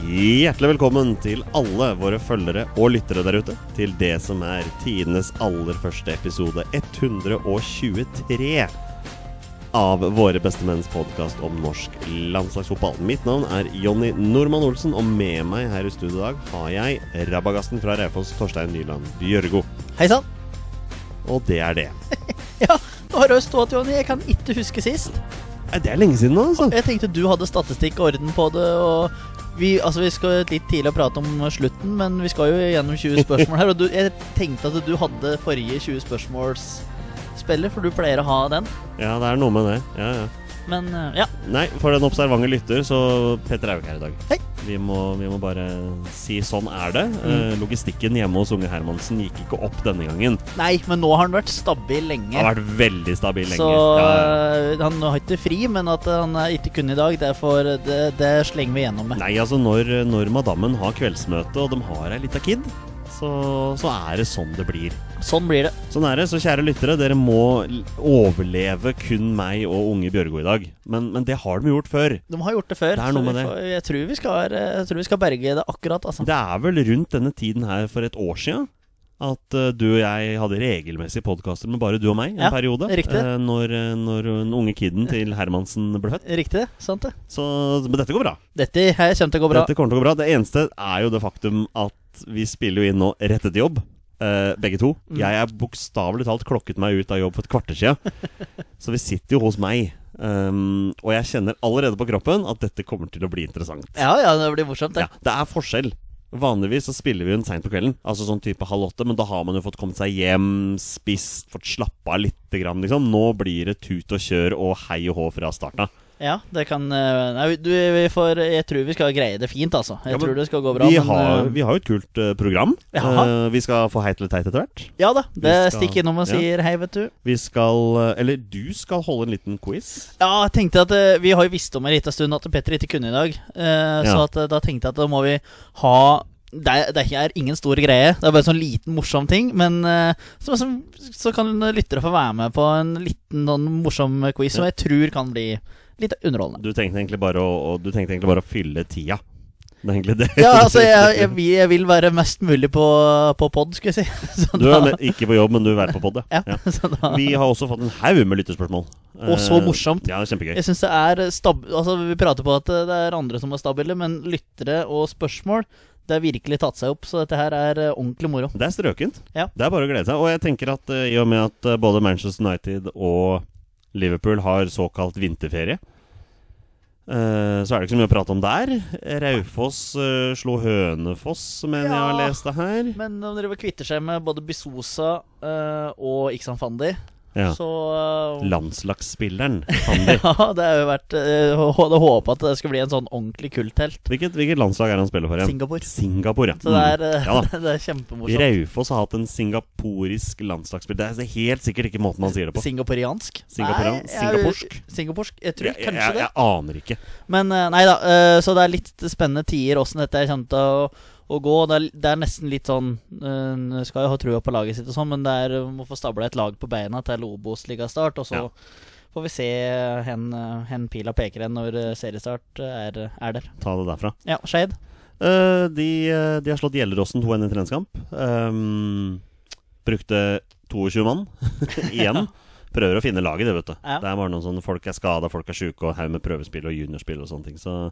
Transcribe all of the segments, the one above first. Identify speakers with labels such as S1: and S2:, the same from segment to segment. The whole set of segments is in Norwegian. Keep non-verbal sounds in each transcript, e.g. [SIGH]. S1: Hjertelig velkommen til alle våre følgere og lyttere der ute til det som er tidenes aller første episode 123 av Våre bestemenns podkast om norsk landslagsfotball. Mitt navn er Jonny Normann Olsen, og med meg her i studio i dag har jeg rabagasten fra Raufoss, Torstein Nyland Bjørgo.
S2: Hei sann. [LAUGHS]
S1: Og det er det.
S2: Ja, nå har jeg stått, Jonny. Jeg kan ikke huske sist.
S1: Nei, Eh, Det er lenge siden nå, altså.
S2: Jeg tenkte du hadde statistikk og orden på det. Og vi, altså, vi skal litt tidlig å prate om slutten, men vi skal jo gjennom
S1: [LAUGHS]
S2: 20 spørsmål her. Og du, jeg tenkte at du hadde forrige 20 spørsmålsspillet, for du pleier å ha den.
S1: Ja, det er noe med det. Ja, ja.
S2: Men eh, ja,
S1: Nei, for den observante lytter, så Petter er jo ikke her i dag.
S2: Hei.
S1: Vi må, vi må bare si sånn er det. Eh, logistikken hjemme hos Unge Hermansen gikk ikke opp denne gangen.
S2: nei, men nå har han vært stabil lenge.
S1: Han har vært veldig stabil lenge.
S2: Så
S1: Ja, ja.
S2: eh, han har ikke fri, men at han eh, ikke kunne i dag, det, får, det, det slenger vi gjennom med.
S1: Nei, altså når, når madammen har kveldsmøte, og de har ei lita kid, så, så er det sånn det blir.
S2: Sånn blir det.
S1: Sånn er det, så kjære lyttere, dere må l- overleve kun meg og Unge Bjørgo i dag. Men, men det har de gjort før.
S2: De har gjort det før.
S1: Det er noe
S2: så vi
S1: med det.
S2: får- Jeg tror vi skal, eh, jeg tror vi skal berge det akkurat, altså.
S1: Det er vel rundt denne tiden her for et år siden at eh, du og jeg hadde regelmessige podkaster med bare du og meg en
S2: Ja,
S1: periode.
S2: riktig.
S1: eh, når, eh, når den unge kiden til Hermansen ble født.
S2: Riktig, sant det.
S1: Så men dette går bra.
S2: Dette her kommer til å gå bra.
S1: Dette kommer til å gå bra. Det eneste er jo det faktum at vi spiller jo inn nå rett etter jobb. eh, begge to.
S2: Mm.
S1: Jeg er bokstavelig talt klokket meg ut av jobb for et kvarter
S2: [LAUGHS]
S1: siden. så vi sitter jo hos meg. Um, og jeg kjenner allerede på kroppen at dette kommer til å bli interessant.
S2: Ja, ja, det blir morsomt, det.
S1: Ja, det er forskjell. Vanligvis så spiller vi jo en seint på kvelden, altså sånn type halv åtte, men da har man jo fått kommet seg hjem, spist, fått slappa av lite grann, liksom. Nå blir det tut og kjør og hei og hå fra starten av.
S2: Ja, det kan eh, Nei, du, vi får Jeg tror vi skal greie det fint, altså. Jeg
S1: Ja, men
S2: tror det skal gå bra.
S1: Vi,
S2: men,
S1: har-
S2: eh,
S1: vi har jo et kult eh, program.
S2: Jaha.
S1: Eh, vi skal få heit eller teit etter hvert.
S2: Ja da. Det
S1: skal-
S2: Stikk innom og
S1: ja.
S2: sier hei, vet du.
S1: Vi skal eh, Eller du skal holde en liten quiz.
S2: Ja, jeg tenkte at eh, Vi har jo visst om en liten stund at Petter ikke kunne i dag. eh, Så
S1: Ja.
S2: at, eh, da tenkte jeg at da må vi ha det er, det er ingen stor greie. Det er bare en sånn liten, morsom ting. Men eh, så, så, så kan lyttere få være med på en liten sånn morsom quiz som jeg tror kan bli litt underholdende.
S1: Du tenkte egentlig bare å, å, du tenkte egentlig bare å fylle tida. Det er egentlig det. [LAUGHS]
S2: Ja, altså, jeg, jeg, vil- jeg vil være mest mulig på, på pod, skulle jeg si. Så
S1: Du er med, ikke på jobb, men du vil være på podet.
S2: Ja, [LAUGHS] så da,
S1: Vi har også fått en haug med lyttespørsmål.
S2: og så
S1: Eh,
S2: morsomt.
S1: Ja, kjempegøy.
S2: Jeg synes det er stab Altså Vi prater på at det er andre som er stabile, men lyttere og spørsmål Det har virkelig tatt seg opp, så dette her er eh, ordentlig moro.
S1: Det er strøkent.
S2: Ja.
S1: Det er bare å glede seg. Og jeg tenker at eh, i og med at eh, både Manchester United og Liverpool har såkalt vinterferie, eh, så er det ikke så mye å prate om der. Raufoss eh, slo Hønefoss, mener jeg har
S2: Ja.
S1: lest det her.
S2: Men når dere kvitter seg med både Bisosa eh, og Iksan Fandi,
S1: Ja.
S2: så eh,
S1: Landslagsspilleren Fandi.
S2: [LAUGHS] Ja, det har jo vært eh, hå- Hadde håpa at det skulle bli en sånn ordentlig kulthelt.
S1: Hvilket, hvilket landslag er det han spiller for igjen?
S2: Singapore.
S1: Singapore,
S2: Så det er, eh,
S1: Mm. Ja da.
S2: [LAUGHS] det er kjempemorsomt.
S1: Raufoss har hatt en singaporisk landslagsspiller. Det er helt sikkert ikke måten man sier det på.
S2: Singaporiansk?
S1: Singaporean-
S2: Nei, jeg-
S1: singaporsk?
S2: Singaporsk? Jeg tror
S1: Jeg, jeg,
S2: kanskje
S1: jeg,
S2: det.
S1: jeg aner ikke.
S2: Men eh, nei da, eh, så det er litt spennende tider åssen dette kommer til å, å gå. Det er, det er nesten litt sånn eh, Skal jo ha trua på laget sitt og sånn, men det er eh, må få stabla et lag på beina til Lobos-ligastart, og så
S1: Ja.
S2: får vi se eh, hen, eh, hen pila peker hen når eh, seriestart er, er der.
S1: Ta det derfra.
S2: Ja, Skeid.
S1: Eh, de, eh, de har slått Gjelleråsen 2-1 i treningskamp. Ehm, brukte 22 mann [LAUGHS] igjen. Prøver å finne laget, det, vet du.
S2: Ja.
S1: Det er bare noen sånne folk er skada, folk er sjuke, og haug med prøvespill og juniorspill og sånne ting. Så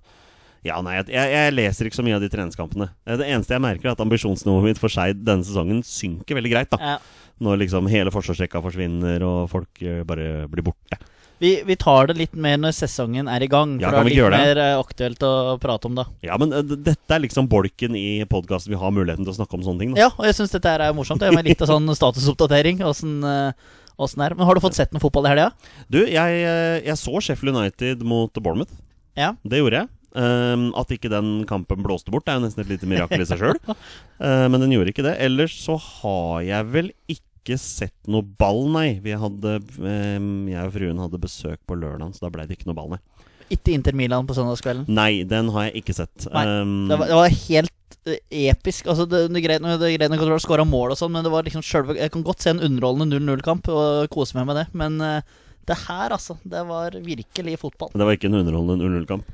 S1: ja, nei, jeg, jeg leser ikke så mye av de treningskampene. Eh, Det eneste jeg merker, er at ambisjonsnivået mitt for Skeid denne sesongen synker veldig greit, da.
S2: Ja.
S1: Når liksom hele forsvarsrekka forsvinner, og folk eh, bare blir borte.
S2: Vi, vi tar det litt mer når sesongen er i gang.
S1: Ja,
S2: For det
S1: kan
S2: er
S1: vi
S2: litt
S1: ikke gjøre det?
S2: mer eh, aktuelt å prate om da.
S1: Ja, men eh, d- dette er liksom bolken i podkasten vi har muligheten til å snakke om sånne ting, da.
S2: Ja, og jeg syns dette her er morsomt. Det er med litt av sånn [LAUGHS] statusoppdatering. Åssen det er. Men har du fått sett noe fotball i helga?
S1: Du, jeg, eh, jeg så Sheffield United mot Bournemouth.
S2: Ja.
S1: Det gjorde jeg. Ehm, at ikke den kampen blåste bort, det er jo nesten et lite mirakel i seg sjøl.
S2: [LAUGHS]
S1: men den gjorde ikke det. Ellers så har jeg vel ikke sett noe ball, nei. Vi hadde, ehm, jeg og fruen hadde besøk på lørdag, så da ble det ikke noe ball, nei.
S2: Ikke Inter Milan på søndagskvelden.
S1: Nei, den har jeg ikke sett.
S2: Nei,
S1: Ehm,
S2: Det var, det var helt eh, episk. Altså, det, det er greit når- det er greit når Control skåra mål og sånn, men det var liksom selve Jeg kan godt se en underholdende 0-0-kamp og kose meg med det, men eh, det her, altså. Det var virkelig fotball.
S1: det var ikke en underholdende 0-0-kamp.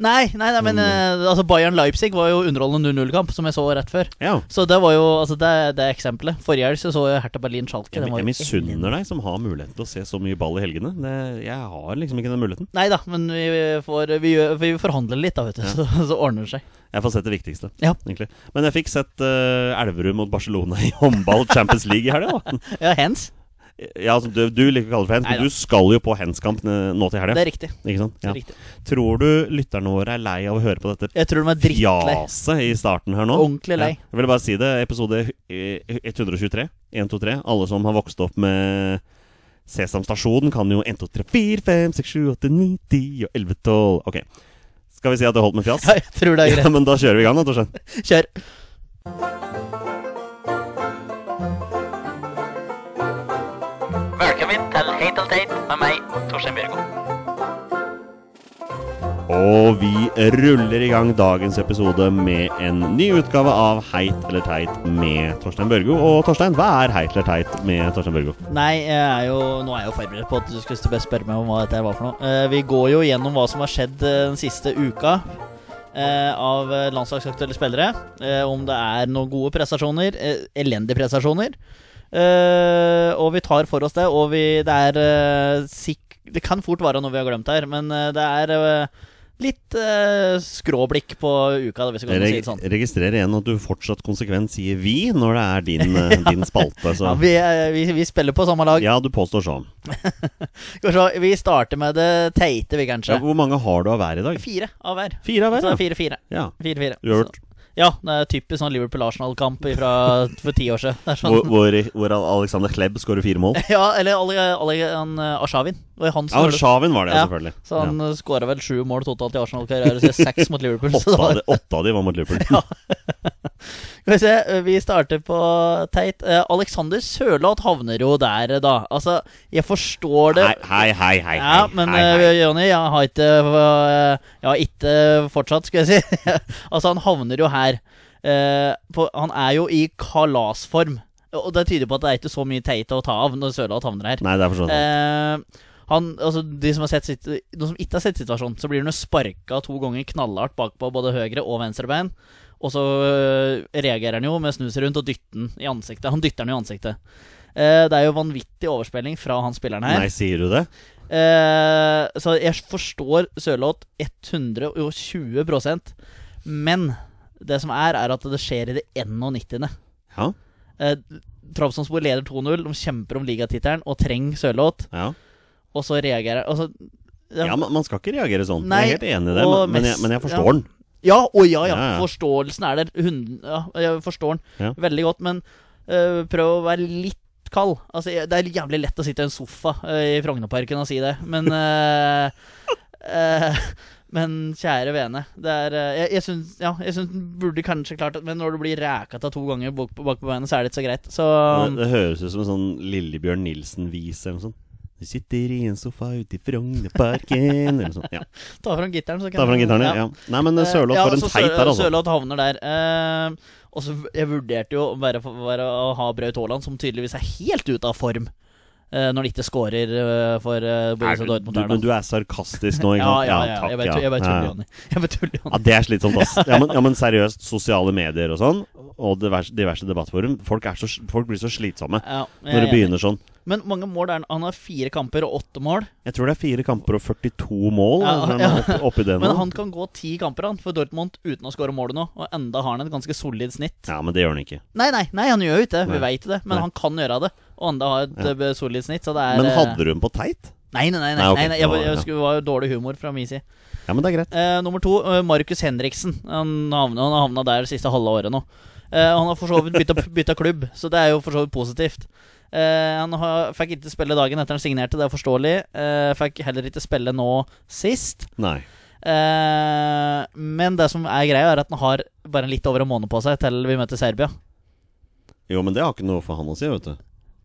S2: Nei, nei, nei
S1: Mm.
S2: men eh, altså Bayern Leipzig var jo underholdende 0-0-kamp, som jeg så rett før.
S1: Ja.
S2: Så det var jo altså det, det er eksempelet. Forrige helg så, så jeg Hertha Berlin Schalke.
S1: Jeg,
S2: den var
S1: jeg
S2: jo
S1: misunner deg som har muligheten til å se så mye ball i helgene. Det, jeg har liksom ikke den muligheten.
S2: Nei da, men vi, får, vi, gjør- vi forhandler litt, da, vet du. [LAUGHS] Så, så ordner det seg.
S1: Jeg får sett det viktigste,
S2: Ja.
S1: egentlig. Men jeg fikk sett eh, Elverum mot Barcelona i håndball Champions League i helga, da.
S2: Ja, hens.
S1: Ja, altså, du, du liker å kalle det for hands,
S2: Neida.
S1: men du skal jo på handskamp eh, nå til
S2: Det
S1: helga.
S2: er riktig.
S1: Ikke sant?
S2: Det
S1: Ja.
S2: er riktig.
S1: Tror du lytterne våre er lei av å høre på dette
S2: Jeg tror de er drittlei.
S1: fjaset i starten her nå?
S2: Ordentlig lei.
S1: Ja. Jeg ville bare si det. Episode eh, 123. 1, 2, 3. Alle som har vokst opp med Sesam stasjon, kan jo 1, 2, 3, 4, 5, 6, 7, 8, 9, 10 og 11, 12 Ok. Skal vi si at det holdt med fjas?
S2: [LAUGHS] Ja, jeg tror det
S1: [LAUGHS]
S2: er
S1: Ja, men da kjører vi i gang, da, Torstein.
S2: greit. Kjør.
S3: Velkommen til Heit og teit med meg, Torstein Bjørgo.
S1: Og vi ruller i gang dagens episode med en ny utgave av Heit eller teit med Torstein Børgo. Og Torstein, hva er Heit eller teit med Torstein Børgo?
S2: Nei, jeg er jo, nå er jeg jo forberedt på at du skulle bare spørre meg om hva dette her var for noe. Eh, vi går jo gjennom hva som har skjedd eh, den siste uka eh, av eh, landslagsaktuelle spillere. Eh, om det er noen gode prestasjoner, eh, elendige prestasjoner. Eh, og vi tar for oss det, og vi, det er eh, sikk... Det kan fort være noe vi har glemt her, men eh, det er eh, litt eh, skråblikk på uka, da, hvis vi kan si
S1: Jeg
S2: det sånn.
S1: registrerer igjen at du fortsatt konsekvent sier 'vi' når det er
S2: [LAUGHS]
S1: din, eh, din spalte.
S2: Ja,
S1: Så.
S2: vi, eh, vi, vi spiller på samme lag.
S1: Ja, du påstår sånn.
S2: Skal vi se, vi starter med det teite, vi, kanskje.
S1: Ja, hvor mange har du av hver i dag?
S2: Fire av hver.
S1: Fire av
S2: Så det
S1: hver,
S2: er fire, fire. [LAUGHS]
S1: ja.
S2: fire, fire.
S1: Uavgjort.
S2: Så- Ja, det er typisk sånn Liverpool-Arsenal-kamp
S1: [LAUGHS]
S2: fra- for ti år siden. Det er
S1: Hvor,
S2: sånn.
S1: hvor, hvor Alexander Klebb skårer fire mål.
S2: [LAUGHS] Ja, eller Ali, Ali han, eh, Arshavin. Det var han som
S1: Ja,
S2: gjorde det.
S1: Shavin var det, ja,
S2: Ja,
S1: selvfølgelig.
S2: Så han ja. skåra vel sju mål totalt i Arsenal-karrieren, så seks mot
S1: [LAUGHS]
S2: Liverpool.
S1: Ja.
S2: Så det
S1: Åtte, av
S2: var,
S1: de, åtte av de var mot
S2: [LAUGHS]
S1: Liverpool.
S2: skal vi se, eh, vi starter på teit. Eh, Alexander Sørloth havner jo der, eh, da. Altså, jeg forstår det.
S1: Hei, hei, hei. hei,
S2: Ja,
S1: hei,
S2: men
S1: hei, hei.
S2: eh, Jonny, jeg har ikke eh, Jeg har ikke fortsatt, skal jeg si. [LAUGHS] altså, han havner jo her. eh, på, han er jo i kalasform. Og det tyder på at det er ikke så mye teit å ta av når Sørloth havner her.
S1: Nei, det er for sånn.
S2: Eh, han, altså de som, har sett sitt, de som ikke har sett situasjonen, så blir han jo sparka to ganger knallhardt bakpå både høyre og venstre bein. Og så øh, reagerer han jo med å snu seg rundt og dytter den i ansiktet. Han dytter den i ansiktet. Eh, det er jo vanvittig overspilling fra han spilleren her.
S1: Nei, sier du det?
S2: Eh, så jeg forstår Sørloth 120 Men det som er, er at det skjer i det 91.
S1: Ja.
S2: Eh, Trabzonspor leder 2-0, de kjemper om ligatittelen og trenger Sørloth.
S1: ja.
S2: Og så reagerer altså, det-
S1: Ja, man, man skal ikke reagere sånn.
S2: Nei,
S1: jeg er helt enig i det, men,
S2: og
S1: men,
S2: mest-
S1: jeg, men jeg forstår
S2: ja.
S1: den.
S2: Ja, å ja, ja.
S1: Ja, ja.
S2: Forståelsen er der. Hunden, ja, jeg forstår den
S1: Ja.
S2: veldig godt, men øh, prøv å være litt kald. Altså, jeg- det er jævlig lett å sitte i en sofa øh, i Frognerparken og si det, men [LAUGHS] øh, øh, Men kjære vene, det er øh, Jeg, jeg syns ja, jeg syns den burde kanskje klart det, men når du blir rækata to ganger bak, bak på beinet, så er det ikke så greit. Så
S1: Det, det høres ut som en sånn Lillebjørn Nilsen-vise eller noe sånt. Du sitter i en sofa ute i Frognerparken eller noe sånt. Ja.
S2: ta fram gitaren, så kan
S1: Ta fram
S2: du-
S1: gitaren, ja. ja. Nei, men Sørloth
S2: Eh,
S1: for en
S2: så
S1: teit
S2: Sør-
S1: der, altså.
S2: Sørloth havner der. Eh, og så v- Jeg vurderte jo å være, være å ha Braut Haaland, som tydeligvis er helt ute av form eh, når de ikke scorer eh, for eh,
S1: Er
S2: Borussia
S1: du, du,
S2: Dortmund. her nå.
S1: men du er sarkastisk nå, ikke
S2: altså. ja,
S1: sant?
S2: ja, ja, jeg bare tu- jeg bare
S1: ja.
S2: tuller, Jonny. [LAUGHS] Jeg bare tuller, Jonny.
S1: Ja, Det er slitsomt, ass. Ja, men, ja, men seriøst, sosiale medier og sånn, og diverse, diverse debattforum, folk, er så, folk blir så slitsomme
S2: Ja, jeg
S1: når
S2: er
S1: det begynner sånn.
S2: enig. Men mange mål er han? Han har fire kamper og åtte mål.
S1: Jeg tror det er fire kamper og 42 mål
S2: Ja,
S1: men
S2: ja.
S1: opp- oppi det nå.
S2: Men han kan gå ti kamper han for Dortmund uten å skåre målet nå, og enda har han et ganske solid snitt.
S1: Ja, men det gjør han ikke.
S2: Nei, nei, nei, han gjør jo ikke det, vi
S1: Nei.
S2: veit det, men
S1: Nei.
S2: han kan gjøre det. Og enda har et eh, solid snitt, så det er
S1: Men
S2: eh,
S1: hadde du den på teit?
S2: Nei, nei, nei. nei,
S1: Nei, ok.
S2: nei, nei jeg,
S1: Ja,
S2: jeg,
S1: ja.
S2: skulle- det var jo dårlig humor fra min side.
S1: Ja, men det er greit.
S2: Eh, nummer to, eh, Markus Henriksen. Han havna, han havna der det siste halve året nå. Eh, han har for så vidt bytta, bytta klubb, så det er jo for så vidt positivt. Eh, han har, fikk ikke spille dagen etter han signerte, det er forståelig. Eh, fikk heller ikke spille nå sist.
S1: Nei.
S2: Eh, men det som er greia, er at han har bare litt over en måned på seg til vi møter Serbia.
S1: Jo, men det har ikke noe for han å si, vet du.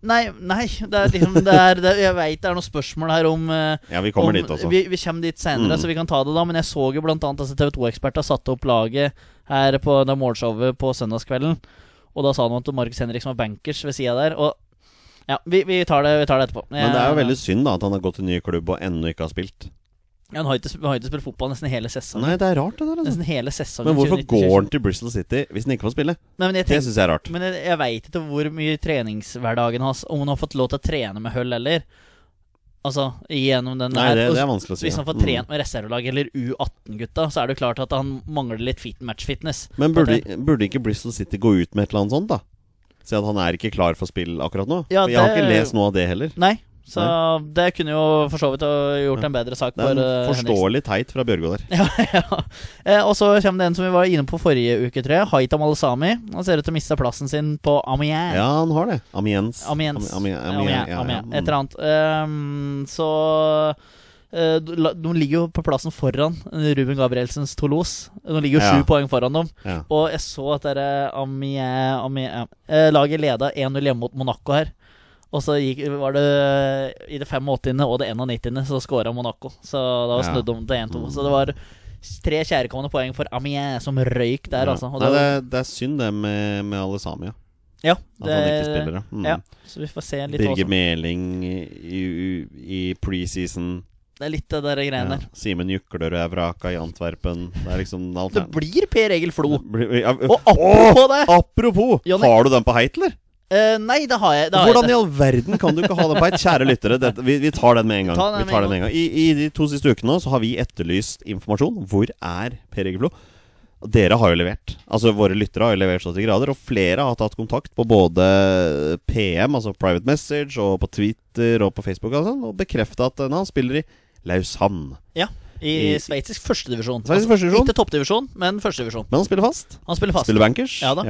S2: Nei, nei, det er liksom det er, det, Jeg veit det er noen spørsmål her om eh,
S1: Ja, vi kommer
S2: om-
S1: dit også.
S2: Vi, vi kommer dit senere,
S1: Mm.
S2: så vi kan ta det da. Men jeg så jo blant annet altså, TV2-eksperter satte opp laget her på det morgenshowet på søndagskvelden. Og da sa han at Markus Henriksen var bankers ved sida der. Og ja, vi, vi, tar det, vi tar det etterpå.
S1: Men det er jo veldig synd da at han har gått til ny klubb og ennå ikke har spilt.
S2: Ja, han har ikke, sp- han har ikke spilt fotball nesten hele sesongen.
S1: Nei, det er rart, det der. Altså.
S2: Sånn. Nesten sånn hele sesongen
S1: Men hvorfor
S2: 2019-2020.
S1: går han til Bristol City hvis han ikke får spille?
S2: Nei, men jeg
S1: Det
S2: tenker,
S1: syns jeg er rart.
S2: Men jeg, jeg veit ikke hvor mye treningshverdagen hans Om han har fått lov til å trene med høll, eller? Altså, gjennom den
S1: Nei,
S2: der
S1: det,
S2: og
S1: det er vanskelig å si.
S2: Hvis han får
S1: Mm.
S2: trent med reservelag eller U18-gutta, så er det jo klart at han mangler litt fit match-fitness.
S1: Mm. Men burde, burde ikke Bristol City gå ut med et eller annet sånt, da? Si at han er ikke klar for spill akkurat nå?
S2: Ja,
S1: For jeg har
S2: det-
S1: ikke lest noe av det heller.
S2: Nei, så det kunne jo for så vidt ha gjort en bedre sak
S1: Det
S2: for
S1: er
S2: eh,
S1: en
S2: Henriksen.
S1: forståelig teit fra Bjørgo der.
S2: [LAUGHS] Ja, ja. Eh, Og så kommer det en som vi var inne på forrige uke, tror jeg. Haitam Alsami. Han ser ut til å miste plassen sin på Amiens.
S1: Ja, han har det. Amiens.
S2: Amiens.
S1: Ami- ami- ami-
S2: Amiens,
S1: ja,
S2: Amiens,
S1: mm.
S2: Et eller annet. Ehm, så eh, du- la- de ligger jo på plassen foran eh, Ruben Gabrielsens Toulouse. De ligger jo sju
S1: Ja.
S2: poeng foran dem.
S1: Mm, Ja.
S2: Og jeg så at dere Amiens, Amiens eh, Laget leda 1-0 hjemme mot Monaco her. Og så gikk, var det i det 85. og det 91. så skåra Monaco. Så da var
S1: Ja.
S2: snudd om til 1-2. Så det var tre kjærkomne poeng for Amiens som røyk der, altså. Og
S1: Nei, det,
S2: det,
S1: er- det er synd det med, med alle sami, ja.
S2: ja,
S1: At han ikke spiller, ja. Mm.
S2: ja. Så vi får se litt hva
S1: Birger
S2: som
S1: Meling i, i preseason.
S2: Det er litt det der
S1: Ja.
S2: greiene der.
S1: Simen Juklerød er vraka i Antwerpen. Det er liksom alt
S2: Det blir Per Egil Flo.
S1: blir
S2: Og apropos det
S1: Apropos!
S2: Jonny.
S1: Har du den på heit, eller?
S2: eh, Nei, det har jeg. Det har
S1: Hvordan i
S2: jeg
S1: all verden kan du ikke ha den på heit? Kjære lyttere, dette, vi, vi tar den med en gang.
S2: Ta den
S1: Vi
S2: med
S1: tar
S2: en
S1: den med en gang. I, I de to siste ukene så har vi etterlyst informasjon. Hvor er Per Egil Flo? Dere har jo levert. Altså Våre lyttere har jo levert så til grader. Og flere har tatt kontakt på både PM, altså private message, og på Twitter og på Facebook og sånn, og bekrefta at eh, han spiller i Lausanne.
S2: ja, I
S1: i-
S2: sveitsisk førstedivisjon.
S1: Sveitsisk førstedivisjon.
S2: Ikke toppdivisjon, men førstedivisjon.
S1: Men han spiller fast.
S2: Han spiller fast.
S1: Spiller bankers.
S2: Ja da.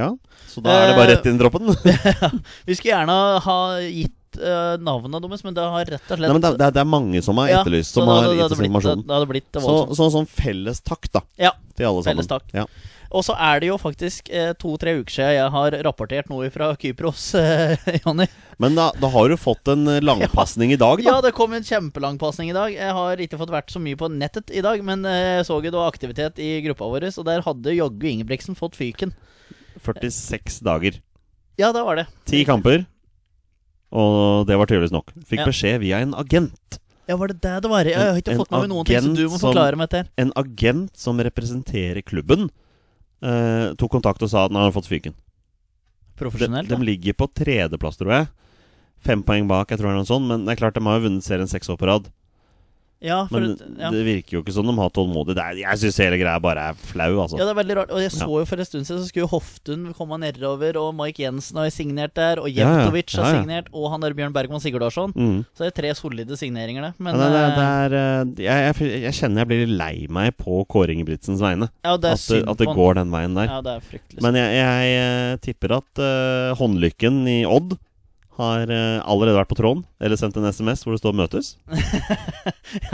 S1: Så da er det bare
S2: Eh,
S1: rett inn i droppen.
S2: Vi skulle gjerne ha gitt eh, navnet deres, men det har rett og
S1: [LAUGHS]
S2: slett
S1: Nei, men det, er- det, er- det er mange som har
S2: Ja,
S1: etterlyst,
S2: så
S1: som
S2: da-
S1: har
S2: da- da
S1: gitt
S2: hadde
S1: oss
S2: blitt-
S1: informasjon.
S2: Da, da hadde blitt
S1: Så,
S2: det voldsomt.
S1: sånn sånn felles takk, da.
S2: Ja.
S1: Til alle sammen.
S2: Felles takk.
S1: Ja.
S2: Og så er det jo faktisk eh, to-tre uker siden jeg har rapportert noe fra Kypros, [LAUGHS] eh, Jonny.
S1: Men da, da har du fått en eh, langpasning i dag, da.
S2: Ja, det kom en kjempelang pasning i dag. Jeg har ikke fått vært så mye på nettet i dag, men eh, jeg så jo det var aktivitet i gruppa vår, og der hadde jaggu Ingebrigtsen fått fyken.
S1: 46 dager.
S2: Ja, det var det.
S1: Ti kamper. Og det var tydeligvis nok. Fikk
S2: Ja.
S1: beskjed via en agent.
S2: Ja, var det det det var? Jeg har ikke
S1: En-
S2: fått med meg
S1: en
S2: noen ting, så
S1: agent
S2: du må
S1: som-
S2: forklare meg dette. her.
S1: En agent som representerer klubben, eh, tok kontakt og sa at han hadde fått fyken. De,
S2: Profesjonelt,
S1: de
S2: da.
S1: ligger på tredjeplass, tror jeg. Fem poeng bak, jeg tror det er noe sånt. Men det er klart de har jo vunnet serien seks år på rad.
S2: Ja, for,
S1: Men
S2: ja.
S1: det virker jo ikke som de har tålmodighet. Det er- Jeg syns hele greia bare er flau, altså.
S2: ja, det er veldig rart. Og jeg så
S1: Ja.
S2: jo for en stund siden så skulle jo Hoftun komme nedover, og Mike Jensen har signert der, og
S1: Ja, ja.
S2: Jevtovic
S1: Ja,
S2: har
S1: ja.
S2: signert, og han der Bjørn Bergman Sigurdarsson.
S1: mm.
S2: Så det er tre solide signeringer, det. Men
S1: Men det, det,
S2: eh,
S1: det er, eh, jeg, jeg, jeg kjenner jeg blir litt lei meg på Kåre Ingebrigtsens vegne.
S2: ja, det er
S1: At det,
S2: synd
S1: at det
S2: på han.
S1: går den veien der.
S2: Ja, det er fryktelig synd.
S1: Men jeg, jeg eh, tipper at eh, håndlykken i Odd har eh, allerede vært på tråden. Eller sendt en SMS hvor det står 'møtes'. Kanskje,
S2: [LAUGHS]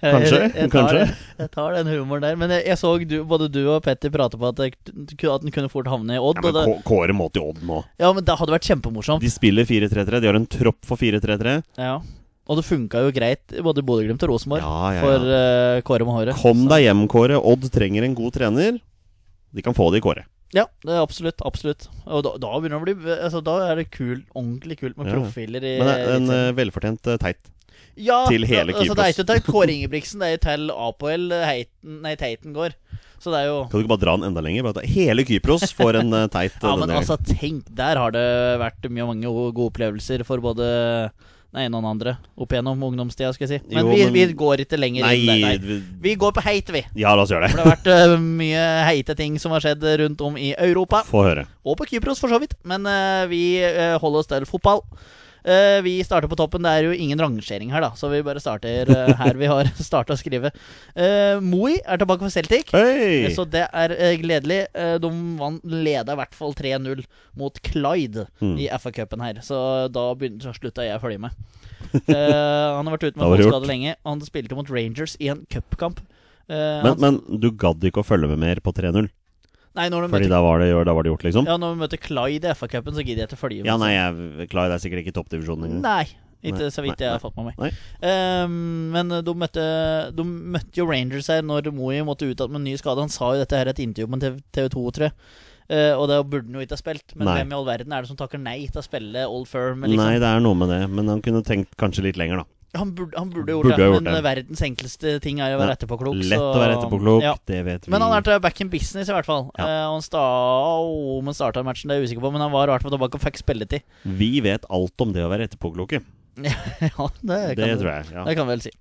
S2: Jeg- jeg tar-
S1: kanskje.
S2: Jeg tar den humoren der. Men jeg, jeg så du, både du og Petter prate på at, det, at den kunne fort havne i Odd.
S1: Ja, men
S2: og det,
S1: Kå- Kåre må til Odd nå.
S2: ja, men det hadde vært kjempemorsomt.
S1: De spiller 4-3-3. De har en tropp for 4-3-3.
S2: Ja. Og det funka jo greit i både Bodø-Glimt og
S1: Ja,
S2: Rosenborg
S1: ja,
S2: for
S1: ja.
S2: eh, Kåre med håret.
S1: Kom deg hjem, Kåre. Odd trenger en god trener. De kan få det i Kåre.
S2: Ja, det er absolutt. Absolutt. Og da, da begynner det å bli altså, Da er det kult, ordentlig kult med
S1: Ja, ja.
S2: profiler i
S1: Men det er en
S2: Eliteserien.
S1: eh, velfortjent eh, teit.
S2: Ja,
S1: til hele
S2: altså, det er
S1: Kypros.
S2: ikke til Kåre Ingebrigtsen, det er jo til Apoel eh, Heiten, nei, Teiten går. Så det er jo
S1: Kan du ikke bare dra den enda lenger? Bare ta hele Kypros får en eh, teit eh,
S2: [LAUGHS] Ja, men
S1: denne gangen.
S2: altså, tenk, der har det vært mye mange o- gode opplevelser for både den ene og den andre opp igjennom ungdomstida, skal jeg si. Men,
S1: Jo,
S2: vi,
S1: men-
S2: vi går ikke lenger inn der.
S1: Nei,
S2: Nei.
S1: vi-
S2: Vi går på heit, vi.
S1: ja, la oss gjøre det.
S2: For det har vært eh, mye heite ting som har skjedd rundt om i Europa.
S1: Få høre.
S2: Og på Kypros, for så vidt. Men eh, vi eh, holder oss til fotball. Eh, vi starter på toppen. Det er jo ingen rangering her, da, så vi bare starter eh, her vi har [LAUGHS] starta å skrive. Uh, Moi er tilbake for Celtic.
S1: Hei!
S2: Så det er eh, gledelig. Eh, De vant, leda i hvert fall 3-0 mot Clyde
S1: Mm.
S2: i FA-cupen her. Så da begynte, så slutta jeg å
S1: [LAUGHS]
S2: følge med. Eh, han har vært ute
S1: Da
S2: med
S1: var det
S2: fotskade lenge. Han spilte mot Rangers i en cupkamp. Eh,
S1: Men,
S2: han-
S1: men du gadd ikke å følge med mer på 3-0?
S2: nei, når de
S1: Fordi
S2: møter,
S1: da var, det, da var det gjort, liksom?
S2: ja, når de møter Clyde i FA-cupen, så gidder jeg ikke å følge med.
S1: Ja, nei, jeg Klar, det er sikkert ikke toppdivisjonen engang.
S2: Nei, ikke
S1: Nei,
S2: så vidt
S1: nei,
S2: jeg har
S1: nei,
S2: fått med meg.
S1: nei.
S2: Ehm, men de møtte, de møtte jo Rangers her når Moey måtte ut med en ny skade. Han sa jo dette her i et intervju med TV 2, tror jeg. Eh, og det burde han jo ikke ha spilt. Men
S1: Nei.
S2: hvem i all verden er det som takker nei til å spille Old Firm?
S1: Nei,
S2: Liksom?
S1: det er noe med det, men han kunne tenkt kanskje litt lenger, da.
S2: Han burde, han burde gjort
S1: Burde
S2: det,
S1: ha gjort
S2: men
S1: det.
S2: verdens enkleste ting er å være
S1: Ja,
S2: etterpåklok.
S1: Lett
S2: så-
S1: å være etterpåklok,
S2: Ja.
S1: det vet vi.
S2: Men han er til back in business, i hvert fall.
S1: Ja.
S2: Eh, og han sta oh, om han starta matchen, det er jeg usikker på, men han var i hvert fall tilbake og fikk
S1: [LAUGHS]
S2: spilletid.
S1: Vi vet alt om det å være etterpåkloke.
S2: ja, det,
S1: Det,
S2: kan du-
S1: tror jeg. Ja,
S2: Det kan vi vel si.